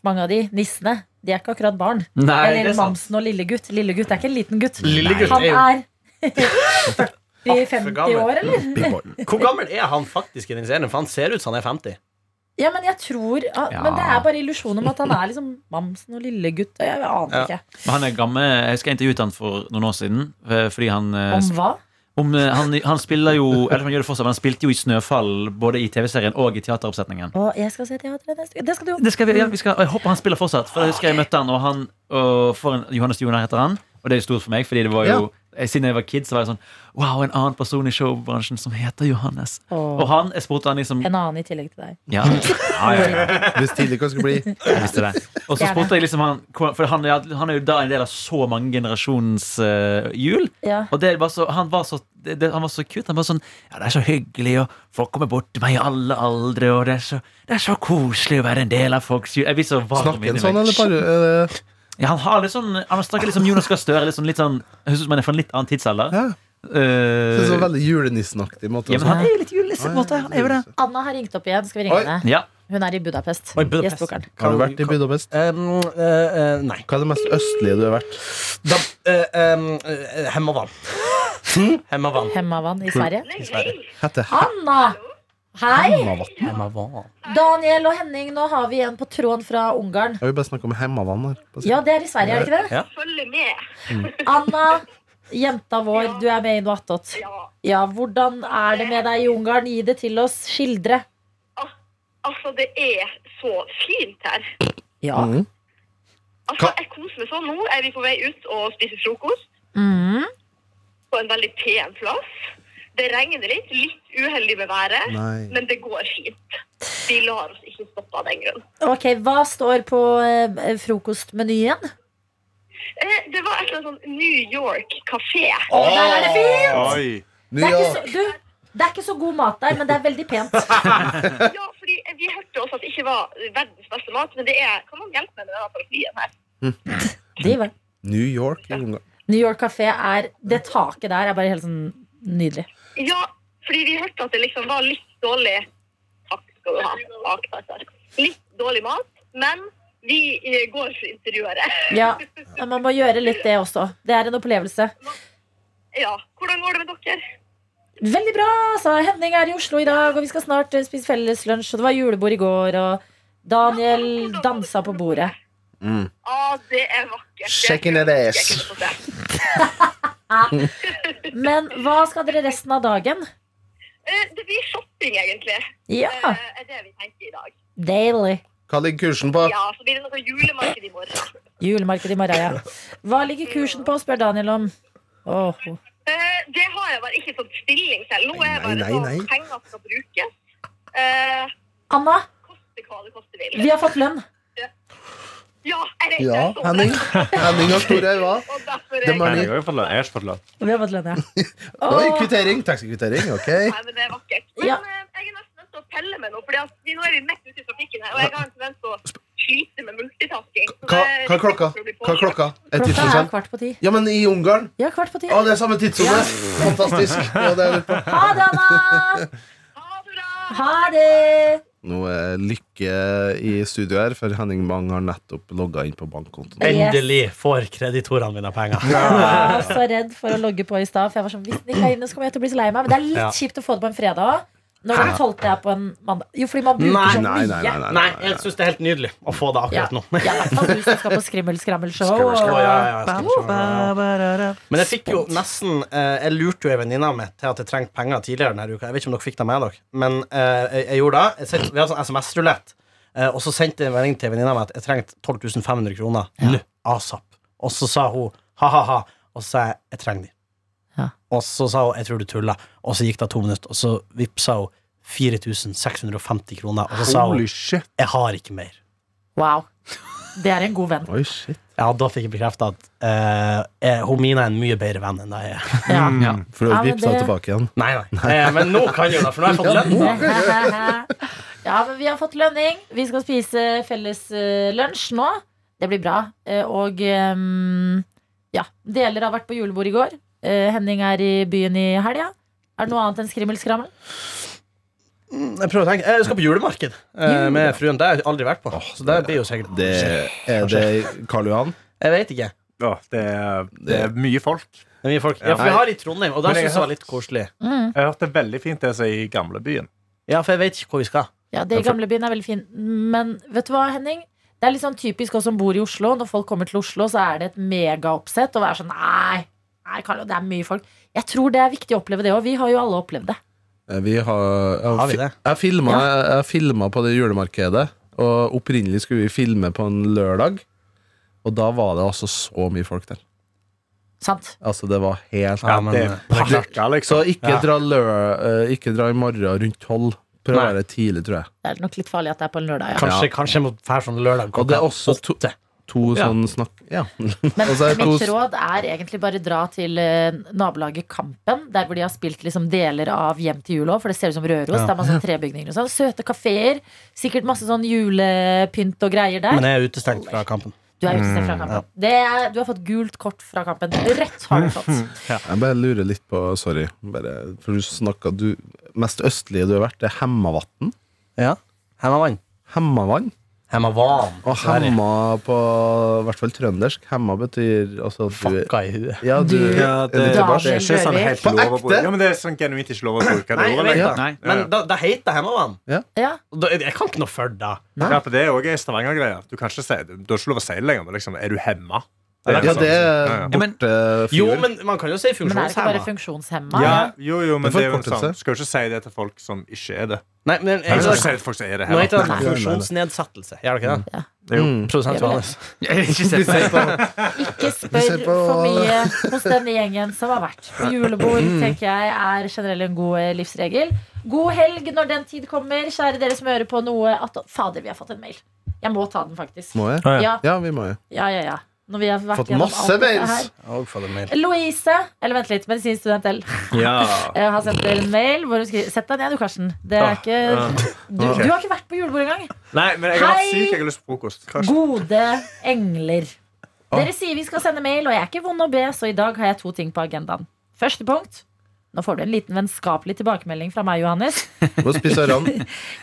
B: Mange av de nissene. De er ikke akkurat barn.
D: Nei, det
B: Eller
D: er sant.
B: Mamsen og Lillegutt. Lillegutt er ikke en liten gutt.
G: Lille gutt
B: Han
G: er jo
B: er
G: for
B: 40-50
G: gammel.
B: år, eller?
G: Hvor gammel er han faktisk i den serien? For han ser ut som han er 50.
B: Ja, men jeg tror ah,
D: Ja.
B: Men det er bare illusjon om at han er liksom Mamsen og Lillegutt. og Jeg aner
G: Ja.
B: ikke.
D: Men han er gammel. Jeg husker jeg intervjuet han for noen år siden. eh, Fordi han, eh,
B: Om hva?
D: om, eh, han, han spiller jo Eller han gjør det fortsatt, men han spilte jo i Snøfall både i TV-serien og i teateroppsetningen.
B: Å, jeg skal se teatret neste uke. Det skal du
D: Det skal vi, ja, vi skal, og jeg håper han spiller fortsatt. For jeg husker jeg møtte han, og han og for en, Johannes Joner heter han. Og det er jo stort for meg, fordi det var jo eh, siden jeg var kid, så var det sånn Wow, en annen person i showbransjen som heter Johannes.
B: Åh.
D: Og han, jeg spurte han liksom
B: En annen i tillegg til deg.
D: Ja, ja, ja, ja
C: Hvis tidlig hva det skulle bli.
D: jeg visste det. Og så
B: Gjerne.
D: spurte jeg liksom han hvor- For han, er- han er jo da en del av så mange generasjons eh, jul.
B: Ja.
D: Og det var så, han, var så, det, det- han var så cute. Han var sånn Ja, det er så hyggelig, og folk kommer bort til meg i alle aldre, og det er så, det er så koselig å være en del av folks jul. Jeg blir så varm
C: Snakker
D: inni
C: han sånn,
D: meg.
C: eller bare er det-
D: Ja, han har litt sånn Han snakker litt som Jonas Gahr Støre. Litt sånn, litt sånn, jeg synes man er fra en litt annen tidsalder.
C: Ja. Det er
D: Eh,
C: sånn veldig julenissenaktig måte.
D: ja,
C: å
D: men han er jo litt julenissen, på en måte. Han er jo det.
B: Anna har ringt opp igjen. Skal vi ringe
C: Oi.
B: henne?
D: Ja.
B: Hun er i Budapest.
G: Oi, Budapest.
B: Gjestbokeren.
C: Har du vært i Budapest?
G: Um, eh, eh, nei.
C: Hva er det mest østlige du har vært?
G: Da, eh, um, eh, Hemavan. Hemavan.
B: Hemavan i Sverige.
C: Hette
B: Anna! Hei!
C: Hemmavatn.
G: Hemavan.
B: Daniel og Henning, nå har vi en på tråden fra Ungarn.
C: Jeg vil bare snakke om Hemmavann her. Bare si-
B: Ja, det er i Sverige, er det ikke det?
G: Ja.
H: Følger med.
B: Anna, jenta vår, du er med i noe attåt.
H: Ja.
B: Ja, hvordan er det med deg i Ungarn? Gi det til oss. Skildre.
H: Altså, det er så fint her.
B: Ja.
C: Mhm.
H: Altså, jeg koser meg sånn. Nå er vi på vei ut og spiser frokost
B: Mm.
H: på en veldig pen plass. Det regner litt. Litt uheldig med været,
C: Nei.
H: men det går fint. Vi lar oss ikke stoppe av den grunn.
B: Ok, hva står på eh, frokostmenyen?
H: Eh, det var et eller annet sånn New York kafé.
B: Der er det fint!
E: Oi.
C: New
B: Det er, ikke
C: York.
B: så, du, det er ikke så god mat der, men det er veldig pent.
H: Ja, fordi vi hørte også at det ikke var verdens beste mat, men det er Kan man hjelpe meg med denne paraplyen her?
B: Diva.
C: New York i Ungarn.
B: New York kafé er Det taket der er bare helt sånn nydelig.
H: Ja, fordi vi hørte at det liksom var litt dårlig Takk skal du ha. Takk, takk, takk. Litt dårlig mat, men vi eh, går for interiøret.
B: Ja, men Man må gjøre litt det også. Det er en opplevelse.
H: Ja, hvordan går det med dere?
B: Veldig bra! Så Henning er i Oslo i dag, og vi skal snart eh, spise felleslunsj. Og det var julebord i går, og Daniel dansa på bordet.
H: Å, det er vakkert.
C: Shaking that ass.
H: Jeg kunne fått det.
B: Men hva skal dere resten av dagen?
H: Eh, Det blir shopping, egentlig.
B: Ja,
H: eh, er det vi tenker i dag.
B: daily.
C: Hva ligger kursen på?
H: Ja, så blir det noe julemarked i morgen.
B: Julemarked i morgen, ja. Hva ligger kursen på, spør Daniel om. Åh,
H: Eh, Det har jeg bare ikke fått stilling selv. Nå er jeg bare
C: Nei, nei,
H: sånn
C: nei.
H: penger skal brukes. Eh,
B: Anna,
H: koste hva det koste vil.
B: vi har fått lønn.
H: Ja, jeg vet
C: Ja,
H: jeg så det.
C: Henning. Henning har store øyne.
H: Og derfor
C: Det
H: er
C: må-
H: jeg
E: Men jeg har jo fått lønn. Jeg har ikke fått lønn.
B: Vi har fått lønn, ja.
C: Oi,
B: Åh,
C: kvittering. Taxikvittering. Ok.
H: Nei, men det er vakkert. Men
B: Ja.
H: eh, jeg er nesten nødt til å pelle med noe, for nå er vi midt ute i trafikken her, og jeg har en tendens til å slite med multitasking. Så
C: Hva,
H: det
C: hva er klokka?
H: for å bli
C: Hva er klokka?
B: klokka er
C: Er tidsforskjell?
B: kvart på ti.
C: Ja, men i Ungarn?
B: Ja, kvart på ti.
C: Å, det er samme tidssone! Fantastisk. Ja, det er litt bra.
B: Ha det, Anna!
H: påkjørt. Ha det bra!
B: Ha det!
C: Nå er Lykke i studio her, for Henning Bang har nettopp logga inn på bankkontoen.
G: Endelig får kreditorene mine penger.
B: Jeg var så redd for å logge på i stad, for jeg var sånn, hvis den ikke er inne, så kommer jeg til å bli så lei meg. Men det er litt
G: Ja.
B: kjipt å få det på en fredag òg. Når den tolvte er på en mandag. Jo, fordi man bruker
G: Nei,
B: så
C: Nei,
B: mye.
C: nei, nei. nei, nei,
G: Nei,
C: nei.
G: jeg syns det er helt nydelig å få det
B: Ja.
G: akkurat nå.
B: Ja, i hvert fall du som skal på skrimmel-skrammel-show.
C: Skrimmel,
B: og-
G: Ja, ja, ja, jeg skal Men jeg fikk jo nesten eh, Jeg lurte jo ei venninne av meg til at jeg trengte penger tidligere denne uka. Jeg vet ikke om dere fikk det med dere, men eh, jeg, jeg gjorde det. Jeg sendte, vi hadde sånn SMS-rulett, eh, og så sendte jeg en melding til venninna mi at jeg trengte 12 500 kroner nå, asap. Og så sa hun ha-ha-ha, og så sa jeg jeg trenger de.
B: Ja.
G: Og så sa hun jeg tror du tuller, og så gikk det to minutter, og så vippsa hun 4650 kroner, og så sa hun
E: Holy shit.
G: jeg har ikke mer.
B: Wow. Det er en god venn.
C: Oi, shit.
G: Ja, da fikk jeg bekrefta at eh, eh, hun Mina er en mye bedre venn enn jeg er.
B: Ja.
D: Ja.
C: For å
B: Ja, men
C: vippse deg
B: det-
C: tilbake igjen.
G: Nei, nei. Eh, men nå kan jeg jo det, for nå har jeg fått lønn. da.
B: ja, men vi har fått lønning. Vi skal spise felles eh, lunsj nå. Det blir bra. Eh, og ehm, ja, deler har vært på julebord i går. Eh, Henning er i byen i helga. Er det noe annet enn skrimmelskrammel?
G: Mm. Jeg prøver å tenke. Jeg skal på julemarked eh, med fruen. Det har jeg aldri vært på. Så det blir jo sikkert
C: Det er det Karl Johan.
G: Jeg vet ikke.
E: Ja, det, er, det er mye folk.
G: Det er mye folk. Ja, for vi har i Trondheim, og
E: Men
G: der
E: jeg
G: synes jeg
E: har-
G: var litt koselig.
E: Jeg har hørt det er veldig fint det som er i gamlebyen.
G: Ja, for jeg vet ikke hvor vi skal.
B: Ja, det i gamlebyen er veldig fin. Men vet du hva, Henning? Det er litt sånn typisk oss som bor i Oslo. Når folk kommer til Oslo, så er det et megaoppsett. Og er sånn, nei, nei Carlo, det er mye folk. Jeg tror det er viktig å oppleve det òg. Vi har jo alle opplevd det.
C: Eh, Vi har, jeg,
G: Har vi det?
C: Jeg filma, jeg filma på det julemarkedet, og opprinnelig skulle vi filme på en lørdag. Og da var det altså så mye folk der.
B: Sant?
C: Altså Det var helt
G: Ja, men- eh,
E: Det er pakka,
C: Så
E: liksom.
C: ikke,
G: Ja.
C: dra lø, eh, ikke dra i morgen rundt tolv. Prøv å
G: Nei.
C: være tidlig, tror jeg.
B: Det er nok litt farlig at det er på en lørdag. Ja.
G: Kanskje, kanskje jeg må dra sånn lørdag
C: Og det er også to,
G: åtte.
C: to
D: Ja.
C: sånn snakk... Ja.
B: Men
C: Altså, jeg
B: mitt
C: tror-
B: råd er egentlig bare dra til eh, nabolaget Kampen, der hvor de har spilt liksom deler av Hjem til jul òg, for det ser ut som Røros.
G: Ja.
B: Det er masse sånn trebygninger og sånn. Søte kafeer. Sikkert masse sånn julepynt og greier der.
G: Men jeg Mm, er utestengt fra kampen.
B: Du er utestemt fra kampen. Det er, du har fått gult kort fra kampen. Rødt har du fått.
C: Jeg bare lurer litt på Sorry. Bare, for du snakka du Mest østlige du har vært, det er Hemmavatn.
G: Ja. Hemma vann.
C: Hemmavann.
G: Hemma van.
C: Og
G: Sverige.
C: hemma på I hvert fall trøndersk. Hemma betyr altså at du
G: Fucka i huet.
C: Ja, du
D: Ja, det-
C: er litt tilbake.
E: Det er ikke sånn helt
C: På
E: lov å bruke.
C: ekte?
E: Ja, men det er sånn genuint ikke lov å bruke det
G: Nei, jeg
E: ordet.
G: vet
E: lenger.
G: det.
D: Nei.
G: Men da, da heter det hemmavann.
B: Ja.
G: Og da- Jeg kan ikke noe for det.
E: Ja, for det er òg ei Stavanger-greie. Du kan ikke si det. Du har ikke lov å si det lenger. Men liksom, er du hemma?
C: Ja,
E: liksom-
C: det er
E: Ja, ja.
D: Ja, men-
C: borte eh,
G: Jo,
C: fjord.
G: men man kan jo si
B: Men er det ikke bare
G: funksjonshemma.
B: funksjonshemma?
E: Ja, jo, jo, men
C: Det er
E: det er jo en
C: forkortelse.
E: sånn Skal jo ikke si det til folk som ikke er det.
G: Nei, men
E: Jeg skal ikke si
G: jeg,
E: det til folk som er det
G: nå heter
E: heller.
G: det funksjonsnedsettelse. Gjør det ikke det?
C: Mm,
G: Produsent Johannes.
D: Ikke se på
B: Ikke
C: ser
B: spør
C: på-
B: for mye hos denne gjengen som har vært på julebord,
C: Mm.
B: tenker jeg er generelt en god eh, livsregel. God helg når den tid kommer, kjære dere som hører på noe at, Fader, vi har fått en mail. Jeg må ta den, faktisk.
C: Må jeg?
B: Ja,
C: Ja, vi må jo.
B: ja, ja. ja. Når vi har vært
C: Fått
B: gjennom
C: masse
B: alt dette
C: mails.
G: Og for en mail.
B: her. Louise, eller vent litt, medisinstudent L,
E: Ja.
B: eh, har sendt dere en mail hvor hun skriver Sett deg ned, du, Karsten. Det er ikke Du,
E: Ok.
B: du har ikke vært på julebord engang.
E: Nei, men jeg har vært
B: Hei!
E: syk. Jeg har lyst på frokost. Hva skjer?
B: Gode engler. Dere sier vi skal sende mail, og jeg er ikke vond å be, så i dag har jeg to ting på agendaen. Første punkt. Nå får du en liten vennskapelig tilbakemelding fra meg, Johannes.
C: Må spise ram.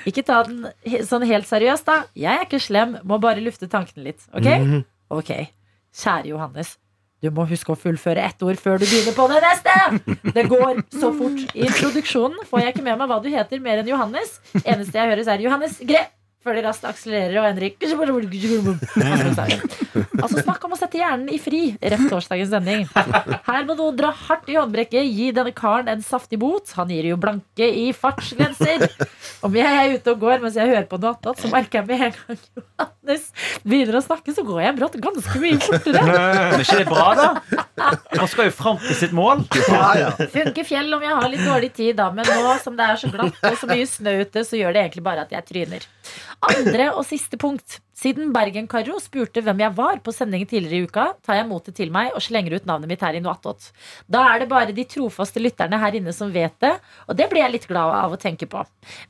B: Ikke ta den he- sånn helt seriøst, da. Jeg er ikke slem, må bare lufte tankene litt. Ok? Ok. Kjære Johannes. Du må huske å fullføre ett ord før du begynner på det neste! Det går så fort. I introduksjonen får jeg ikke med meg hva du heter mer enn Johannes. Eneste jeg høres, er Johannes Gre. Før det raskt akselererer og Henrik Altså Snakk om å sette hjernen i fri rett torsdagens sending. Her må noen dra hardt i håndbrekket, gi denne karen en saftig bot. Han gir jo blanke i fartsgrenser. Om jeg er ute og går mens jeg hører på noe annet, så merker jeg med en gang Johannes begynner å snakke, så går jeg brått ganske mye fortere.
D: Men er ikke det bra, da? Han skal jo fram til sitt mål.
B: Funker fjell om jeg har litt dårlig tid, da, men nå som det er så glatt og så mye snø ute, så gjør det egentlig bare at jeg tryner. Andre og siste punkt. Siden Bergen-Karo spurte hvem jeg var på sending tidligere i uka, tar jeg motet til meg og slenger ut navnet mitt her i Noatot. Da er det bare de trofaste lytterne her inne som vet det, og det blir jeg litt glad av å tenke på.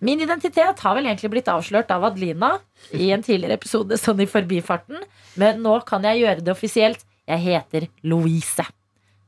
B: Min identitet har vel egentlig blitt avslørt av Adelina i en tidligere episode, sånn i forbifarten, men nå kan jeg gjøre det offisielt. Jeg heter Louise.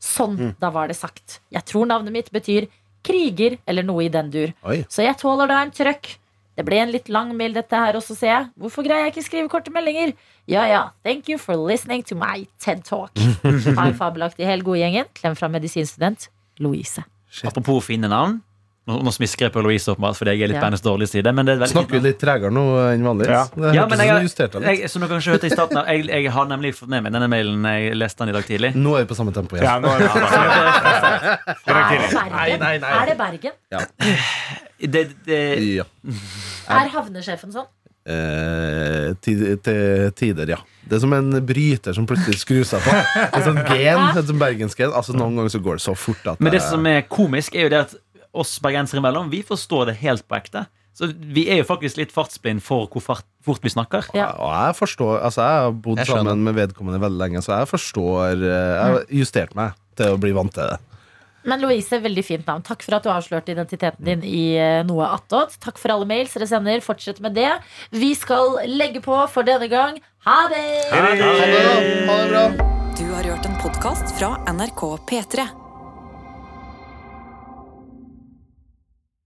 B: Sånn, da var det sagt. Jeg tror navnet mitt betyr kriger eller noe i den dur.
C: Oi.
B: Så jeg tåler da en trøkk. Det ble en litt lang mail dette her også, ser jeg. Hvorfor greier jeg ikke skrive korte meldinger? Ja ja, thank you for listening to my TED Talk. Ha en fabelaktig helg, gode gjengen. Klem fra medisinstudent Louise.
D: Apropos fine navn. Nå, nå smisker jeg på Louise, åpenbart, fordi jeg er
B: Ja.
D: litt bandets dårlige side. Men det er et veldig fint
C: Snakker
D: navn.
C: jo litt tregere nå enn vanlig.
E: Ja.
C: Det
D: Ja,
C: hørtes
D: men jeg,
C: ut som du justerte deg litt.
D: jeg, som dere kanskje hørte i starten av, jeg, jeg har nemlig fått med meg denne mailen. Jeg leste den i dag tidlig.
C: Nå er vi på samme tempo igjen.
E: Ja, nå er det
B: Er
E: tilbake.
B: Bergen?
G: Nei, nei, nei.
B: Er det Bergen?
D: Det, det,
C: Ja.
B: Er havnesjefen sånn?
C: Eh, til, til tider, ja. Det er som en bryter som plutselig skrur seg på. Det er sånn gen, et sånn bergensgen. Altså, noen ganger så går det så fort at
D: men det som er komisk, er jo det at oss bergensere imellom, vi forstår det helt på ekte. Så vi er jo faktisk litt fartsblind for hvor fart, fort vi snakker.
B: Ja.
C: Og jeg forstår Altså, jeg har bodd
G: Jeg skjønner.
C: sammen med vedkommende veldig lenge, så jeg forstår eh, Jeg har justert meg til å bli vant til det.
B: Men Louise, veldig fint navn. Takk for at du avslørte identiteten din i eh, Noe attåt. Takk for alle mails dere sender. Fortsett med det. Vi skal legge på for denne gang. Ha det!
E: Hei.
C: Ha det bra.
A: Du har hørt en podkast fra NRK P3.